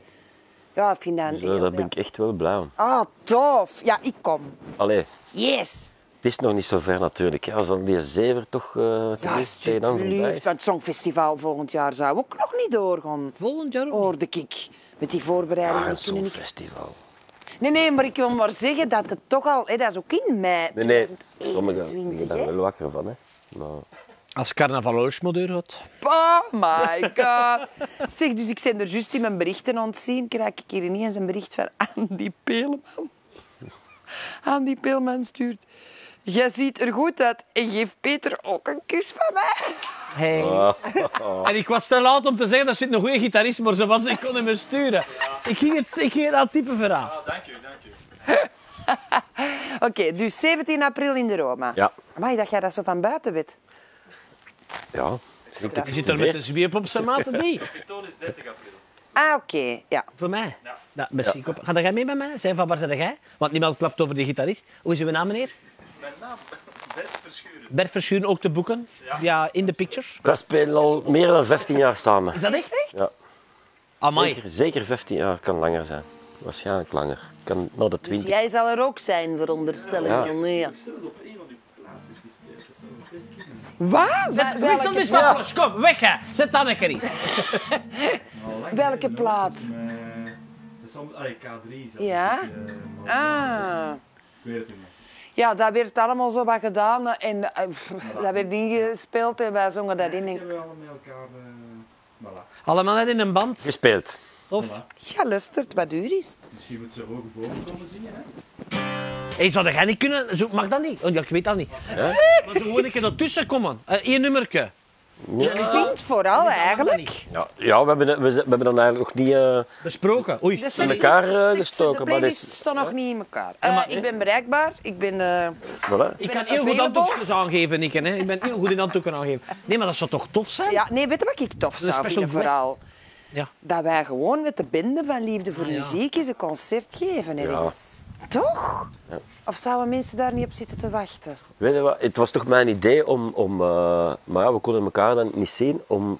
[SPEAKER 3] ja, ik vind dat... een
[SPEAKER 4] Zo,
[SPEAKER 3] heel-
[SPEAKER 4] daar ben ik echt wel blij om.
[SPEAKER 3] Ah, tof. Ja, ik kom.
[SPEAKER 4] Allee,
[SPEAKER 3] Yes.
[SPEAKER 4] het is nog niet zo ver natuurlijk. hè. Als al die zever toch eh
[SPEAKER 3] Ja,
[SPEAKER 4] tenminste tegen dan voorbij is.
[SPEAKER 3] alsjeblieft. Het Songfestival volgend jaar zou ook nog niet doorgaan.
[SPEAKER 2] Volgend jaar ook.
[SPEAKER 3] Hoorde ik. Met die voorbereidingen.
[SPEAKER 4] Ah, een
[SPEAKER 3] die kunnen niks-
[SPEAKER 4] songfestival.
[SPEAKER 3] Nee, nee, maar ik wil maar zeggen dat het toch al... Hè, dat is ook in mei
[SPEAKER 4] Nee, nee,
[SPEAKER 3] 2021.
[SPEAKER 4] sommigen liggen daar
[SPEAKER 3] hè.
[SPEAKER 4] wel wakker van. Hè. Maar
[SPEAKER 2] Als carnavaloorsmodeur had.
[SPEAKER 3] Oh my god. Zeg, dus ik ben er juist in mijn berichten ontzien. Krijg ik hier ineens een bericht van Andy Peelman. Andy Peelman stuurt... Jij ziet er goed uit en geef Peter ook een kus van mij.
[SPEAKER 2] Hey. En ik was te laat om te zeggen dat zit een goede gitarist, maar ze was, ik kon hem sturen. Ik ging het ik ging aan typen verhaal.
[SPEAKER 5] Ah, dank u, dank u.
[SPEAKER 3] Oké, dus 17 april in de Roma.
[SPEAKER 4] Ja.
[SPEAKER 3] Maar dat jij dat zo van buiten weet.
[SPEAKER 4] ja,
[SPEAKER 2] Je zit er met een zweep op zijn maat, niet.
[SPEAKER 5] Pitoon is 30 april.
[SPEAKER 3] Ah, oké. Ja.
[SPEAKER 2] Voor mij? Dat, misschien. Kom, Ga jij mee met mij? Zijn van waar zijn jij? Want niemand klapt over de gitarist. Hoe is uw naam, meneer?
[SPEAKER 5] Mijn naam, Bert Verschuren.
[SPEAKER 2] Bert Verschuren, ook te boeken. Ja, in de pictures.
[SPEAKER 4] we spelen al meer dan 15 jaar samen.
[SPEAKER 2] Is dat echt?
[SPEAKER 4] Ja.
[SPEAKER 2] Amai.
[SPEAKER 4] Zeker, zeker 15 jaar, kan langer zijn. Waarschijnlijk langer. Kan naar de 20.
[SPEAKER 3] Dus Jij zal er ook zijn, veronderstel ik
[SPEAKER 4] Ja.
[SPEAKER 3] dan. Ja.
[SPEAKER 5] Zelfs op een van uw plaatjes gespeeld. Dat zou ik best kunnen.
[SPEAKER 3] Waar?
[SPEAKER 2] Zet- Wissel dus van plaats. Kom, weg hè. Zet dat lekker in.
[SPEAKER 3] Welke plaat?
[SPEAKER 5] eh, Dat is allemaal- allee, K3 is dat.
[SPEAKER 3] Ja?
[SPEAKER 5] Ik, eh, maar
[SPEAKER 3] Ah.
[SPEAKER 5] Ik weet het niet meer.
[SPEAKER 3] Ja, dat werd allemaal zo wat gedaan en eh, dat werd ingespeeld en wij zongen dat in.
[SPEAKER 5] Die
[SPEAKER 3] En...
[SPEAKER 5] hebben we allemaal met elkaar... eh, voilà.
[SPEAKER 2] Allemaal net in een band.
[SPEAKER 4] Gespeeld.
[SPEAKER 2] Of?
[SPEAKER 3] Ja, luistert, wat duur is het?
[SPEAKER 5] Misschien moet ze hoog boven komen zingen, hè?
[SPEAKER 2] Hey, zou dat jij niet kunnen? Zo, mag dat niet? Oh, ja, ik weet dat niet. Maar zo gewoon een keer ertussen komen. Eh, Eén nummerke.
[SPEAKER 3] Zingt vooral eigenlijk.
[SPEAKER 4] Ja, ja we, hebben, we, we hebben dan eigenlijk nog niet... eh,
[SPEAKER 2] Besproken. Oei.
[SPEAKER 3] Dus
[SPEAKER 4] In elkaar, eh, gestoken,
[SPEAKER 3] De
[SPEAKER 4] maar
[SPEAKER 3] playlist
[SPEAKER 4] dit-
[SPEAKER 3] staat nog niet in elkaar. Eh, ik ben bereikbaar. Ik ben... eh,
[SPEAKER 4] voilà.
[SPEAKER 2] Ik
[SPEAKER 3] ben
[SPEAKER 2] kan heel goed
[SPEAKER 3] available.
[SPEAKER 2] handdoekjes aangeven, Nick. Hè. Ik ben heel goed in handdoeken aangeven. Nee, maar dat zou toch tof zijn?
[SPEAKER 3] ja, nee, weet je wat ik
[SPEAKER 4] Dus
[SPEAKER 3] tof
[SPEAKER 2] Een
[SPEAKER 3] zou
[SPEAKER 2] special
[SPEAKER 3] vinden
[SPEAKER 2] guest.
[SPEAKER 3] vooral?
[SPEAKER 2] Ja.
[SPEAKER 3] Dat wij gewoon met de binden van Liefde voor
[SPEAKER 2] Ah, ja.
[SPEAKER 3] Muziek eens een concert geven ergens. Toch? Of zouden mensen daar niet op zitten te wachten?
[SPEAKER 4] Weet je wat, het was toch mijn idee om, om eh, maar ja, we konden elkaar dan niet zien, om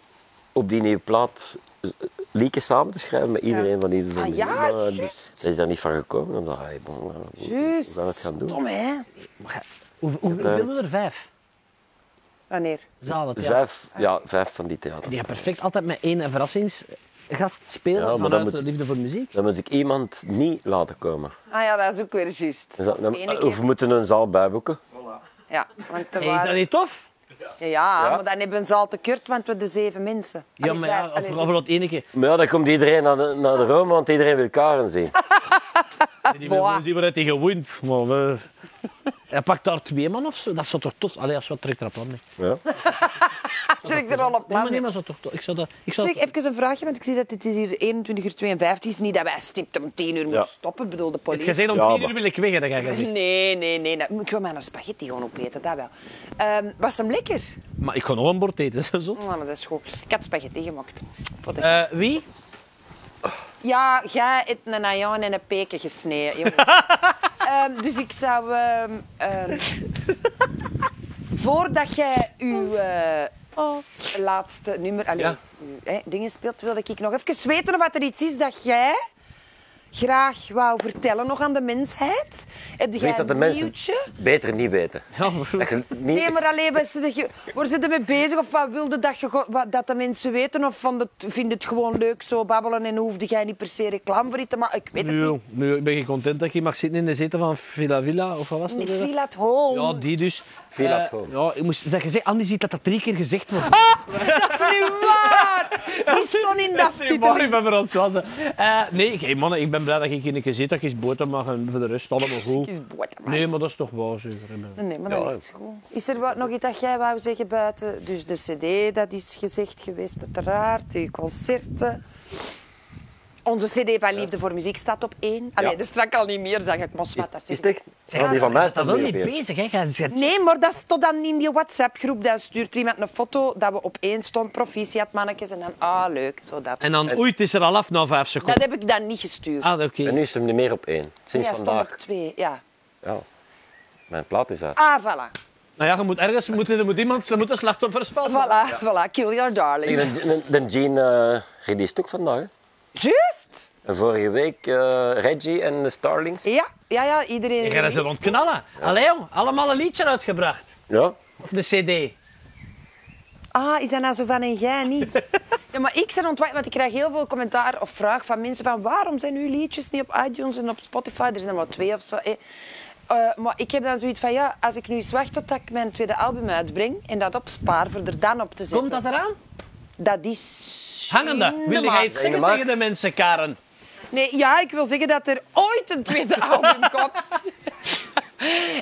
[SPEAKER 4] op die nieuwe plaat eh, liedjes samen te schrijven met iedereen van die
[SPEAKER 3] Ah ja,
[SPEAKER 4] dat
[SPEAKER 3] juist.
[SPEAKER 4] is daar niet van gekomen. Omdat, hey, bon, eh, hoe-
[SPEAKER 3] Juist.
[SPEAKER 4] Hoe gaan we het gaan doen?
[SPEAKER 3] Stom, hè?
[SPEAKER 2] Hoe, hoe, hoeveel doen er? Vijf?
[SPEAKER 3] Wanneer?
[SPEAKER 2] Zalen, ja.
[SPEAKER 4] Vijf, ja, vijf van die theater.
[SPEAKER 2] Die gaat perfect altijd met één verrassingsgast spelen
[SPEAKER 4] Ja, maar dan
[SPEAKER 2] vanuit
[SPEAKER 4] moet-
[SPEAKER 2] Liefde voor Muziek.
[SPEAKER 4] Dan moet ik iemand niet laten komen.
[SPEAKER 3] Ah ja, dat is ook weer juist.
[SPEAKER 4] Dus
[SPEAKER 3] Dat
[SPEAKER 4] dat-
[SPEAKER 3] is
[SPEAKER 4] dan-
[SPEAKER 3] de ene
[SPEAKER 4] of
[SPEAKER 3] keer.
[SPEAKER 4] we moeten een zaal bijboeken.
[SPEAKER 3] Ja, want
[SPEAKER 2] Hey,
[SPEAKER 3] er
[SPEAKER 2] is dat
[SPEAKER 3] waren...
[SPEAKER 2] niet tof?
[SPEAKER 3] Ah, ja, maar dan hebben ze al te kort, want we doen zeven mensen.
[SPEAKER 2] Ja,
[SPEAKER 3] Allee,
[SPEAKER 2] maar ja,
[SPEAKER 3] vijf, allee,
[SPEAKER 2] of-
[SPEAKER 3] zes.
[SPEAKER 2] of dat ene keer.
[SPEAKER 4] Maar ja, dan komt iedereen naar de, naar de Rome, want iedereen wil Karen zien.
[SPEAKER 2] Die wil
[SPEAKER 3] Ah, Boah.
[SPEAKER 2] gewoon zien waar hij tegen wint. Maar we... Hij pakt daar twee man of zo. Dat zou toch tof Allee, als wat trekt er op aan. Nee,
[SPEAKER 4] Ja.
[SPEAKER 3] Trek er al op,
[SPEAKER 2] maar
[SPEAKER 3] man.
[SPEAKER 2] nee, maar zou toch tof. Ik zou dat... Ik zou
[SPEAKER 3] Zeg, even een vraagje, want ik zie dat dit is hier 21 uur 52 is. Niet dat wij stipt om 10 uur moeten stoppen, ik bedoel de
[SPEAKER 2] Het gezegd
[SPEAKER 3] politie.
[SPEAKER 2] om
[SPEAKER 4] Ja,
[SPEAKER 2] tien uur
[SPEAKER 4] maar-
[SPEAKER 2] wil ik weg, hè, dat ga ik zeggen.
[SPEAKER 3] Nee, nee, nee. nou, ik wil mijn spaghetti gewoon opeten, dat wel. Ehm, was hem lekker?
[SPEAKER 2] Maar ik ga nog een bord eten, zo. zot.
[SPEAKER 3] Oh, maar dat is goed. Ik had spaghetti gemaakt. Voor de
[SPEAKER 2] Eh,
[SPEAKER 3] gast.
[SPEAKER 2] wie?
[SPEAKER 3] Ja, jij hebt een ajan en een peken gesneden, jongens. Ehm, dus ik zou... ehm, ehm, voordat jij uw eh, laatste nummer... Allee, uw, hè, dingen speelt, wilde ik nog even weten of dat er iets is dat jij graag wou vertellen nog aan de mensheid. Heb jij
[SPEAKER 4] Weet dat de
[SPEAKER 3] een
[SPEAKER 4] mensen
[SPEAKER 3] nieuwtje?
[SPEAKER 4] beter niet weten.
[SPEAKER 2] Ja, maar-
[SPEAKER 4] Dat je niet,
[SPEAKER 3] Nee, maar alleen, waar zitten je- waar zitten mee bezig? Of wat wilde dat, je, go- wat- dat de mensen weten? Of vond het, vind het gewoon leuk zo babbelen en hoefde jij niet per se reclame voor iets te maken? Ik weet het
[SPEAKER 2] Nu,
[SPEAKER 3] niet.
[SPEAKER 2] nu ben je content dat je mag zitten in de zetel van Villa Villa, of wat was
[SPEAKER 3] Niet
[SPEAKER 2] het?
[SPEAKER 3] viel at home.
[SPEAKER 2] Ja, die dus.
[SPEAKER 4] Villa
[SPEAKER 2] Eh,
[SPEAKER 4] at home.
[SPEAKER 2] Ja, ik moest dat gezegd, Andy ziet dat dat drie keer gezegd
[SPEAKER 3] Ah,
[SPEAKER 2] wordt.
[SPEAKER 3] Dat is niet waar! Die stond in dat
[SPEAKER 2] Nee,
[SPEAKER 3] titel.
[SPEAKER 2] ik ben Eh, nee, ik, hey, mannen, ik ben blij dat ik hier een keer zit, dat ik eens boter mag en voor de rest allemaal goed.
[SPEAKER 3] Is boter, man.
[SPEAKER 2] Nee, maar dat is toch waar, zeker. hè, man.
[SPEAKER 3] Nee, maar dat is het goed. Is er wat, nog iets dat jij wou zeggen buiten? Dus de cd, dat is gezegd geweest, uiteraard. Uw concerten. Onze cd van Liefde voor Muziek staat op één. Allee,
[SPEAKER 4] Ja.
[SPEAKER 3] er strak al niet meer, zeg ik. Maar
[SPEAKER 4] is,
[SPEAKER 3] zwart, dat
[SPEAKER 4] is het echt? Ja, die
[SPEAKER 2] maar
[SPEAKER 4] van mij
[SPEAKER 2] je
[SPEAKER 4] staat
[SPEAKER 2] bent wel
[SPEAKER 4] niet
[SPEAKER 2] mee
[SPEAKER 4] op hier.
[SPEAKER 2] bezig, hè? Jij zet-
[SPEAKER 3] Nee, maar dat stond dan in die WhatsApp-groep. Dan stuurt iemand een foto dat we op één stond, proficiat mannetjes. En dan, ah, leuk, zo dat.
[SPEAKER 2] En dan, oei, het is er al af na vijf seconden.
[SPEAKER 3] Dat heb ik dan niet gestuurd.
[SPEAKER 2] Ah, oké.
[SPEAKER 4] En nu is hem niet meer op één. Sinds
[SPEAKER 3] ja, stond
[SPEAKER 4] vandaag.
[SPEAKER 3] op twee, ja.
[SPEAKER 4] Ja. Mijn plaat is uit.
[SPEAKER 3] Ah, voilà.
[SPEAKER 2] Nou ja, je moet ergens, moet, er moet iemand, ze moeten slachtoffer spelen.
[SPEAKER 3] Voilà, voilà. Kill your darling.
[SPEAKER 4] Zeg, de- de- De Jean eh released ook vandaag. hè?
[SPEAKER 3] Juist?
[SPEAKER 4] En vorige week eh, Reggie en de Starlings.
[SPEAKER 3] Ja, ja, ja. Iedereen...
[SPEAKER 2] Je gaat ze
[SPEAKER 3] released.
[SPEAKER 2] ontknallen. Allee, joh, allemaal een liedje uitgebracht.
[SPEAKER 4] Ja.
[SPEAKER 2] Of de cd.
[SPEAKER 3] Ah, is dat nou zo van en jij niet? ja, maar ik ben ontwacht, want ik krijg heel veel commentaar of vraag van mensen van waarom zijn uw liedjes niet op iTunes en op Spotify? Er zijn er maar twee of zo. hè. Eh, maar ik heb dan zoiets van, ja, als ik nu eens wacht tot ik mijn tweede album uitbreng en dat opspaar voor er dan op te zetten.
[SPEAKER 2] Komt dat eraan?
[SPEAKER 3] Dat is...
[SPEAKER 2] Hangende. Wil
[SPEAKER 3] maand.
[SPEAKER 2] jij iets zeggen
[SPEAKER 4] maar.
[SPEAKER 2] tegen de mensen, Karen?
[SPEAKER 3] Nee, ja, ik wil zeggen dat er ooit een tweede album komt.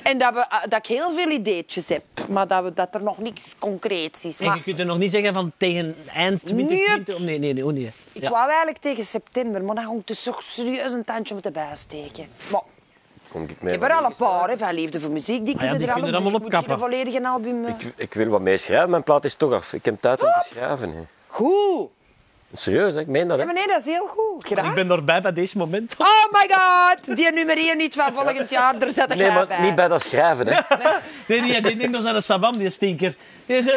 [SPEAKER 3] en dat, we, eh, dat ik heel veel ideetjes heb, maar dat, we, dat er nog niks concreets is.
[SPEAKER 2] En
[SPEAKER 3] Maar
[SPEAKER 2] je kunt er nog niet zeggen van tegen eind 2020. Nee, nee, nee. oh, nee.
[SPEAKER 3] Ik
[SPEAKER 2] Ja.
[SPEAKER 3] wou eigenlijk tegen september, maar dan ging ik dus toch serieus een tandje moeten bijsteken. Maar
[SPEAKER 4] Kom ik
[SPEAKER 3] ik
[SPEAKER 4] mee.
[SPEAKER 3] heb er al een paar hè, van Liefde voor Muziek, die kunnen
[SPEAKER 2] Ah die
[SPEAKER 3] er al
[SPEAKER 2] kunnen
[SPEAKER 3] op.
[SPEAKER 2] er allemaal
[SPEAKER 3] dus ik moet
[SPEAKER 2] opkappen.
[SPEAKER 3] geen volledige album... eh.
[SPEAKER 4] Ik, ik wil wat mee schrijven. Mijn plaat is toch af. Ik heb tijd om te schrijven. hè.
[SPEAKER 3] Goed!
[SPEAKER 4] Serieus, hè? ik meen dat. Hè?
[SPEAKER 3] Ja, maar nee, dat is heel goed.
[SPEAKER 2] Ik
[SPEAKER 3] Graag.
[SPEAKER 2] ben erbij bij deze moment.
[SPEAKER 3] Oh my god! Die nummer 1 niet van volgend jaar, daar zet ik
[SPEAKER 4] Nee,
[SPEAKER 3] jij
[SPEAKER 4] maar
[SPEAKER 3] bij.
[SPEAKER 4] niet bij dat schrijven. Hè?
[SPEAKER 2] Nee, nee, die neemt ons aan de sabam, die stinker. Die, is,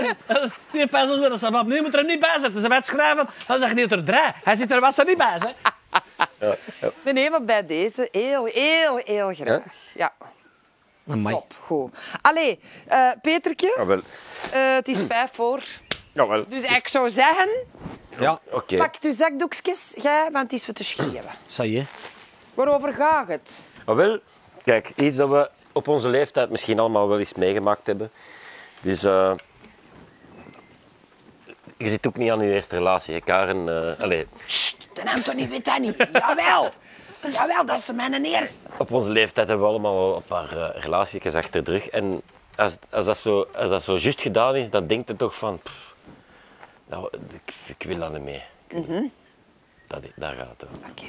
[SPEAKER 2] die past ons aan de sabam. Nee, je moet er hem niet bij zetten. Ze het schrijven. Dan zegt hij het er draai. Hij zit er was er niet bij, hè.
[SPEAKER 3] Nee, nee, maar bij deze heel, heel, heel graag. Ja,
[SPEAKER 2] Amai.
[SPEAKER 3] top. Goed. Allee, eh, Petertje,
[SPEAKER 4] Jawel.
[SPEAKER 3] eh, het is vijf voor.
[SPEAKER 4] Jawel.
[SPEAKER 3] Dus ik zou zeggen,
[SPEAKER 2] Ja,
[SPEAKER 4] Oké.
[SPEAKER 3] pak uw zakdoekjes, jij, want het is voor te schreeuwen.
[SPEAKER 2] zei je.
[SPEAKER 3] Waarover gaat het?
[SPEAKER 4] Jawel. Kijk, iets dat we op onze leeftijd misschien allemaal wel eens meegemaakt hebben. Dus eh, je zit ook niet aan je eerste relatie, hè, Karen. eh allee,
[SPEAKER 3] De Anthony weet dat niet. Jawel. Jawel, dat is mijn eerste.
[SPEAKER 4] op onze leeftijd hebben we allemaal wel een paar eh, relatiejes achter de rug. En als, als, dat zo, als dat zo juist gedaan is, dan denkt het toch van... pff, Nou, ik, ik wil dat niet mee. Ik wil-
[SPEAKER 3] Mhm.
[SPEAKER 4] dat, daar gaat het over.
[SPEAKER 3] Oké.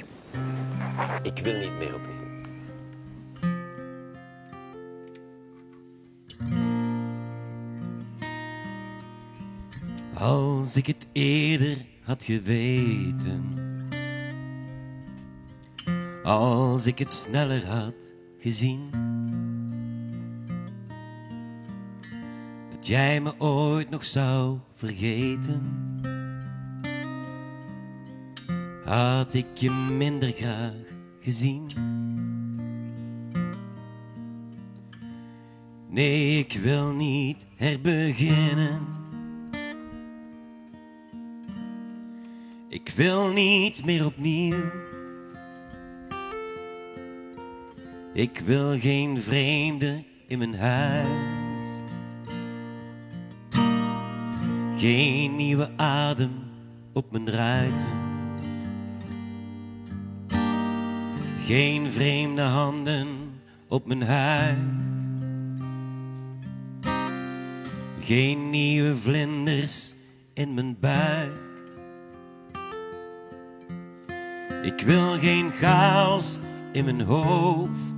[SPEAKER 4] Ik wil niet meer opnieuw.
[SPEAKER 1] Als ik het eerder had geweten. Als ik het sneller had gezien. Dat jij me ooit nog zou vergeten. Had ik je minder graag gezien. Nee, ik wil niet herbeginnen. Ik wil niet meer opnieuw. Ik wil geen vreemde in mijn huis. Geen nieuwe adem op mijn ruiten. Geen vreemde handen op mijn huid. Geen nieuwe vlinders in mijn buik. Ik wil geen chaos in mijn hoofd.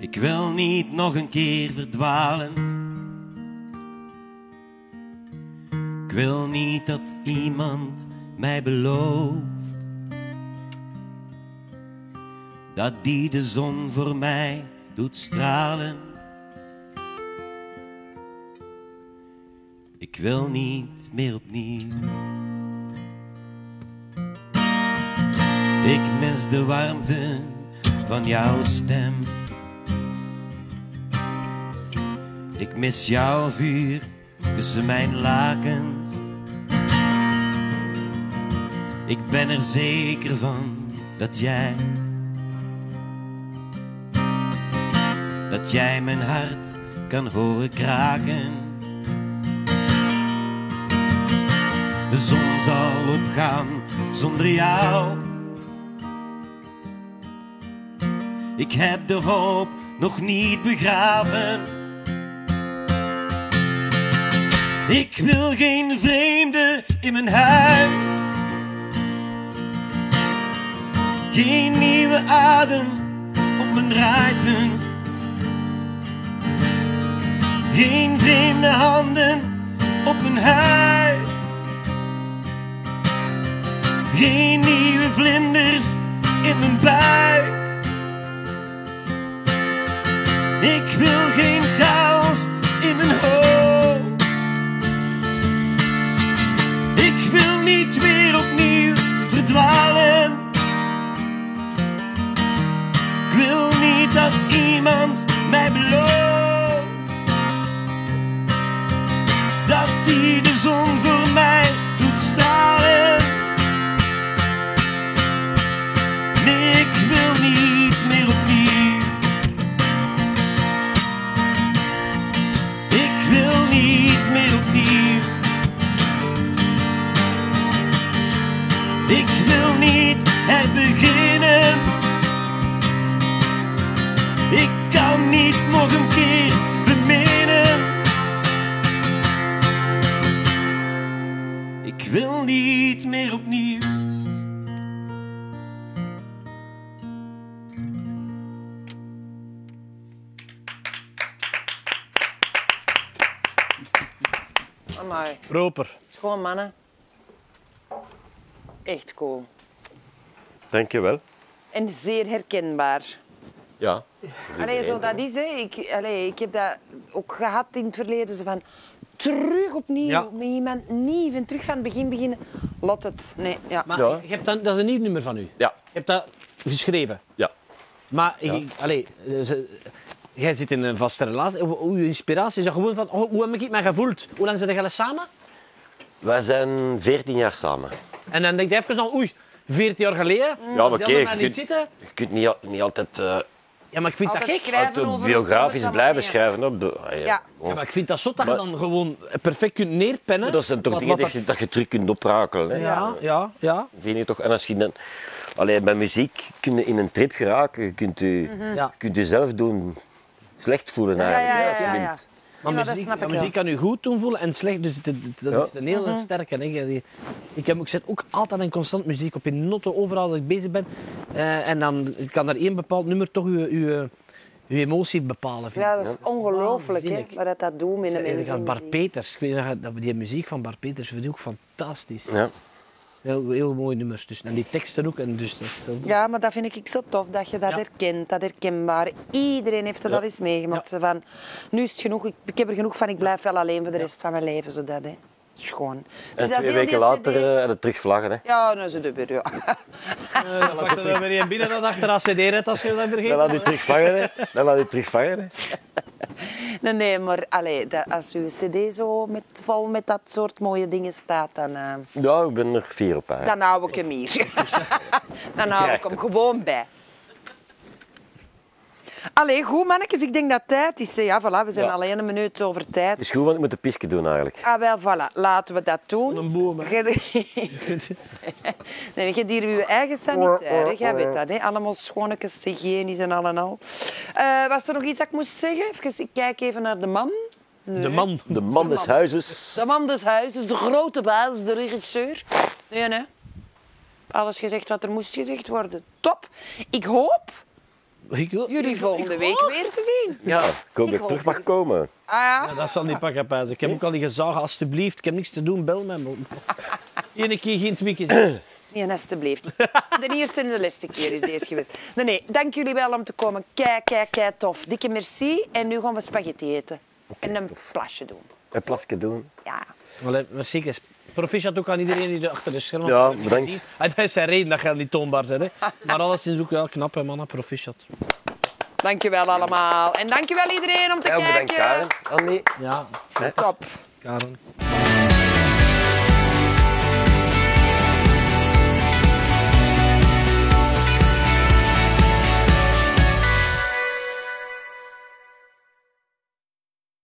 [SPEAKER 1] Ik wil niet nog een keer verdwalen. Ik wil niet dat iemand mij belooft dat die de zon voor mij doet stralen. Ik wil niet meer opnieuw. Ik mis de warmte van jouw stem. Ik mis jouw vuur tussen mijn lakens. Ik ben er zeker van dat jij. Dat jij mijn hart kan horen kraken. De zon zal opgaan zonder jou. Ik heb de hoop nog niet begraven. Ik wil geen vreemde in mijn huis. Geen nieuwe adem op mijn ruiten. Geen vreemde handen op mijn huid. Geen nieuwe vlinders in mijn buik. Ik wil geen chaos in mijn hoofd. Ik wil niet meer opnieuw verdwalen. Ik wil niet dat iemand mij belooft dat die de zon voor mij doet stralen. Nee, ik wil niet meer opnieuw. Ik wil niet meer opnieuw. Ik wil niet het beginnen. Ik kan niet nog een keer beminnen. Ik wil niet meer opnieuw.
[SPEAKER 3] Amai.
[SPEAKER 2] Proper.
[SPEAKER 3] Schoon mannen. Echt cool.
[SPEAKER 4] Dank je wel.
[SPEAKER 3] En zeer herkenbaar.
[SPEAKER 4] Ja.
[SPEAKER 3] Allee, zo dat is, hè. Ik, allee, ik heb dat ook gehad in het verleden. Zo van, terug opnieuw,
[SPEAKER 2] Ja.
[SPEAKER 3] met iemand nieuw en terug van het begin beginnen. Lot het. Nee, ja.
[SPEAKER 2] Maar
[SPEAKER 4] Ja.
[SPEAKER 2] je hebt dan, dat is een nieuw nummer van u.
[SPEAKER 4] Ja,
[SPEAKER 2] Je hebt dat geschreven.
[SPEAKER 4] ja.
[SPEAKER 2] Maar ik- allee, ze- jij zit in een vaste relatie. Hoe- Hoe je inspiratie is dat gewoon van oh, hoe heb ik het mij gevoeld? Hoe lang zijn jullie samen?
[SPEAKER 4] Wij zijn 14 jaar samen.
[SPEAKER 2] En dan denk je even aan oei, 14 jaar geleden. Ja,
[SPEAKER 4] maar
[SPEAKER 2] als die
[SPEAKER 4] kijk,
[SPEAKER 2] allemaal niet
[SPEAKER 4] je-
[SPEAKER 2] zitten.
[SPEAKER 4] Je kunt niet, al- niet altijd eh
[SPEAKER 2] Ja, maar ik vind dat
[SPEAKER 3] Altijd
[SPEAKER 2] gek.
[SPEAKER 3] schrijven over-
[SPEAKER 4] autobiografisch
[SPEAKER 3] over
[SPEAKER 4] blijven
[SPEAKER 3] allemaal
[SPEAKER 4] schrijven. Op de, ah, ja.
[SPEAKER 3] Ja.
[SPEAKER 4] Oh.
[SPEAKER 2] Ja, maar ik vind dat zot dat
[SPEAKER 4] Maar-
[SPEAKER 2] je dan gewoon perfect kunt neerpennen.
[SPEAKER 4] Dat zijn toch
[SPEAKER 2] wat-
[SPEAKER 4] dingen
[SPEAKER 2] wat
[SPEAKER 4] dat je, dat je terug kunt oprakelen. Hè?
[SPEAKER 2] Ja, ja, ja.
[SPEAKER 4] Vind je toch? En als je dan... Allee, bij muziek kun je in een trip geraken. Je kunt je,
[SPEAKER 2] Ja.
[SPEAKER 4] je kunt jezelf doen slecht voelen
[SPEAKER 3] Ja,
[SPEAKER 4] eigenlijk.
[SPEAKER 3] Mhm. ja,
[SPEAKER 4] hè,
[SPEAKER 3] ja,
[SPEAKER 4] als je
[SPEAKER 3] ja,
[SPEAKER 4] bent.
[SPEAKER 3] ja.
[SPEAKER 2] Maar
[SPEAKER 3] Ja, Mhm. dat
[SPEAKER 2] muziek,
[SPEAKER 3] snap ik
[SPEAKER 2] muziek
[SPEAKER 3] wel.
[SPEAKER 2] kan je goed doen voelen en slecht. Dus het- het- dat
[SPEAKER 4] Ja.
[SPEAKER 2] is een hele sterke. Hè. Je- je- Ik, heb, ik zet ook altijd en constant muziek op in noten, overal dat ik bezig ben. Eh, en dan kan er één bepaald nummer toch je, je, je emotie bepalen. Vind
[SPEAKER 3] Ja,
[SPEAKER 2] ik.
[SPEAKER 3] dat is ongelooflijk, hè,
[SPEAKER 2] waanzinnig.
[SPEAKER 3] wat dat, dat doet met de
[SPEAKER 2] En
[SPEAKER 3] mensen.
[SPEAKER 2] dan Bart
[SPEAKER 3] muziek.
[SPEAKER 2] Peters, ik weet nog dat we die muziek van Bart Peters vind ik ook fantastisch.
[SPEAKER 3] Dus
[SPEAKER 4] Ja.
[SPEAKER 2] Heel, heel mooie nummers. Dus. En die teksten ook. En dus, dat is zo-
[SPEAKER 3] Ja, maar dat vind ik zo tof, dat je dat
[SPEAKER 2] Ja.
[SPEAKER 3] herkent, dat herkenbaar. Iedereen heeft dat al eens meegemaakt. Zo Van, nu is het genoeg, ik, ik heb er genoeg van, ik blijf wel alleen voor de rest van mijn leven. Zo dat, hè. Schoon.
[SPEAKER 4] En
[SPEAKER 3] Dus dat is
[SPEAKER 4] twee
[SPEAKER 3] heel
[SPEAKER 4] weken
[SPEAKER 3] die
[SPEAKER 4] later
[SPEAKER 3] CD.
[SPEAKER 4] eh, hadden we terug vlaggen. Hè.
[SPEAKER 3] Ja, nou ze de weer, ja.
[SPEAKER 2] Eh, dan pak je er weer een binnen dat achteraf cd als je dat
[SPEAKER 4] Dan
[SPEAKER 2] vergeet.
[SPEAKER 4] laat u terug vangen. Hè. Dan laat u terug vangen. Hè.
[SPEAKER 3] Nee, nee, maar allee, dat, als uw cd zo met, vol met dat soort mooie dingen staat, dan, eh,
[SPEAKER 4] Ja, ik ben er vier op. Hè.
[SPEAKER 3] dan hou ik hem hier. dan hou ik hem gewoon bij. Allee, goed mannetjes, ik denk dat tijd is. hè. Ja, voilà, we zijn
[SPEAKER 4] Ja.
[SPEAKER 3] alleen een minuut over tijd.
[SPEAKER 4] Het is goed, want ik moet de pisken doen eigenlijk.
[SPEAKER 3] Ah, wel, voilà. Laten we dat doen.
[SPEAKER 2] Een boom, hè.
[SPEAKER 3] Je- nee, je hebt hier uw eigen sanitair. hè. Jij weet dat, hè? Allemaal schoonetjes, hygiënisch en al en al. Eh, was er nog iets dat ik moest zeggen? Even, ik kijk even naar de man.
[SPEAKER 2] De man.
[SPEAKER 4] De man des huizes.
[SPEAKER 3] De man des huizes, de grote baas, de regisseur. Nee, nee. Alles gezegd wat er moest gezegd worden. Top. Ik hoop
[SPEAKER 2] Ik wil-
[SPEAKER 3] jullie volgende week weer te zien.
[SPEAKER 2] Ja.
[SPEAKER 4] Ik hoop dat ik
[SPEAKER 3] hoor
[SPEAKER 4] terug
[SPEAKER 3] het.
[SPEAKER 4] mag komen.
[SPEAKER 3] Ah ja.
[SPEAKER 2] Ja, dat zal niet pakken, Pijs. Ik heb ook al die gezagen, alstublieft. Ik heb niks te doen, bel mij. maar- Eén keer geen twee keer. zeggen.
[SPEAKER 3] Nee, alstublieft. De eerste en de laatste keer is deze geweest. Nee, nee, dank jullie wel om te komen. Kijk, kijk, kijk, tof. Dikke merci. En nu gaan we spaghetti eten. en een plasje doen.
[SPEAKER 4] Een plasje doen.
[SPEAKER 3] Ja.
[SPEAKER 2] Allee, Maar zeker. Proficiat ook aan iedereen die er achter de schermen
[SPEAKER 4] Ja,
[SPEAKER 2] heeft
[SPEAKER 4] bedankt.
[SPEAKER 2] gezien. Ah, dat is zijn reden dat je niet toonbaar bent. Hè. Maar alleszins ook wel knap, hè, mannen. Proficiat.
[SPEAKER 3] Dankjewel allemaal. En dankjewel iedereen om te
[SPEAKER 4] Ja, Oh,
[SPEAKER 3] kijken.
[SPEAKER 4] bedankt Karen. Annie.
[SPEAKER 2] Ja,
[SPEAKER 3] Top.
[SPEAKER 2] Karen.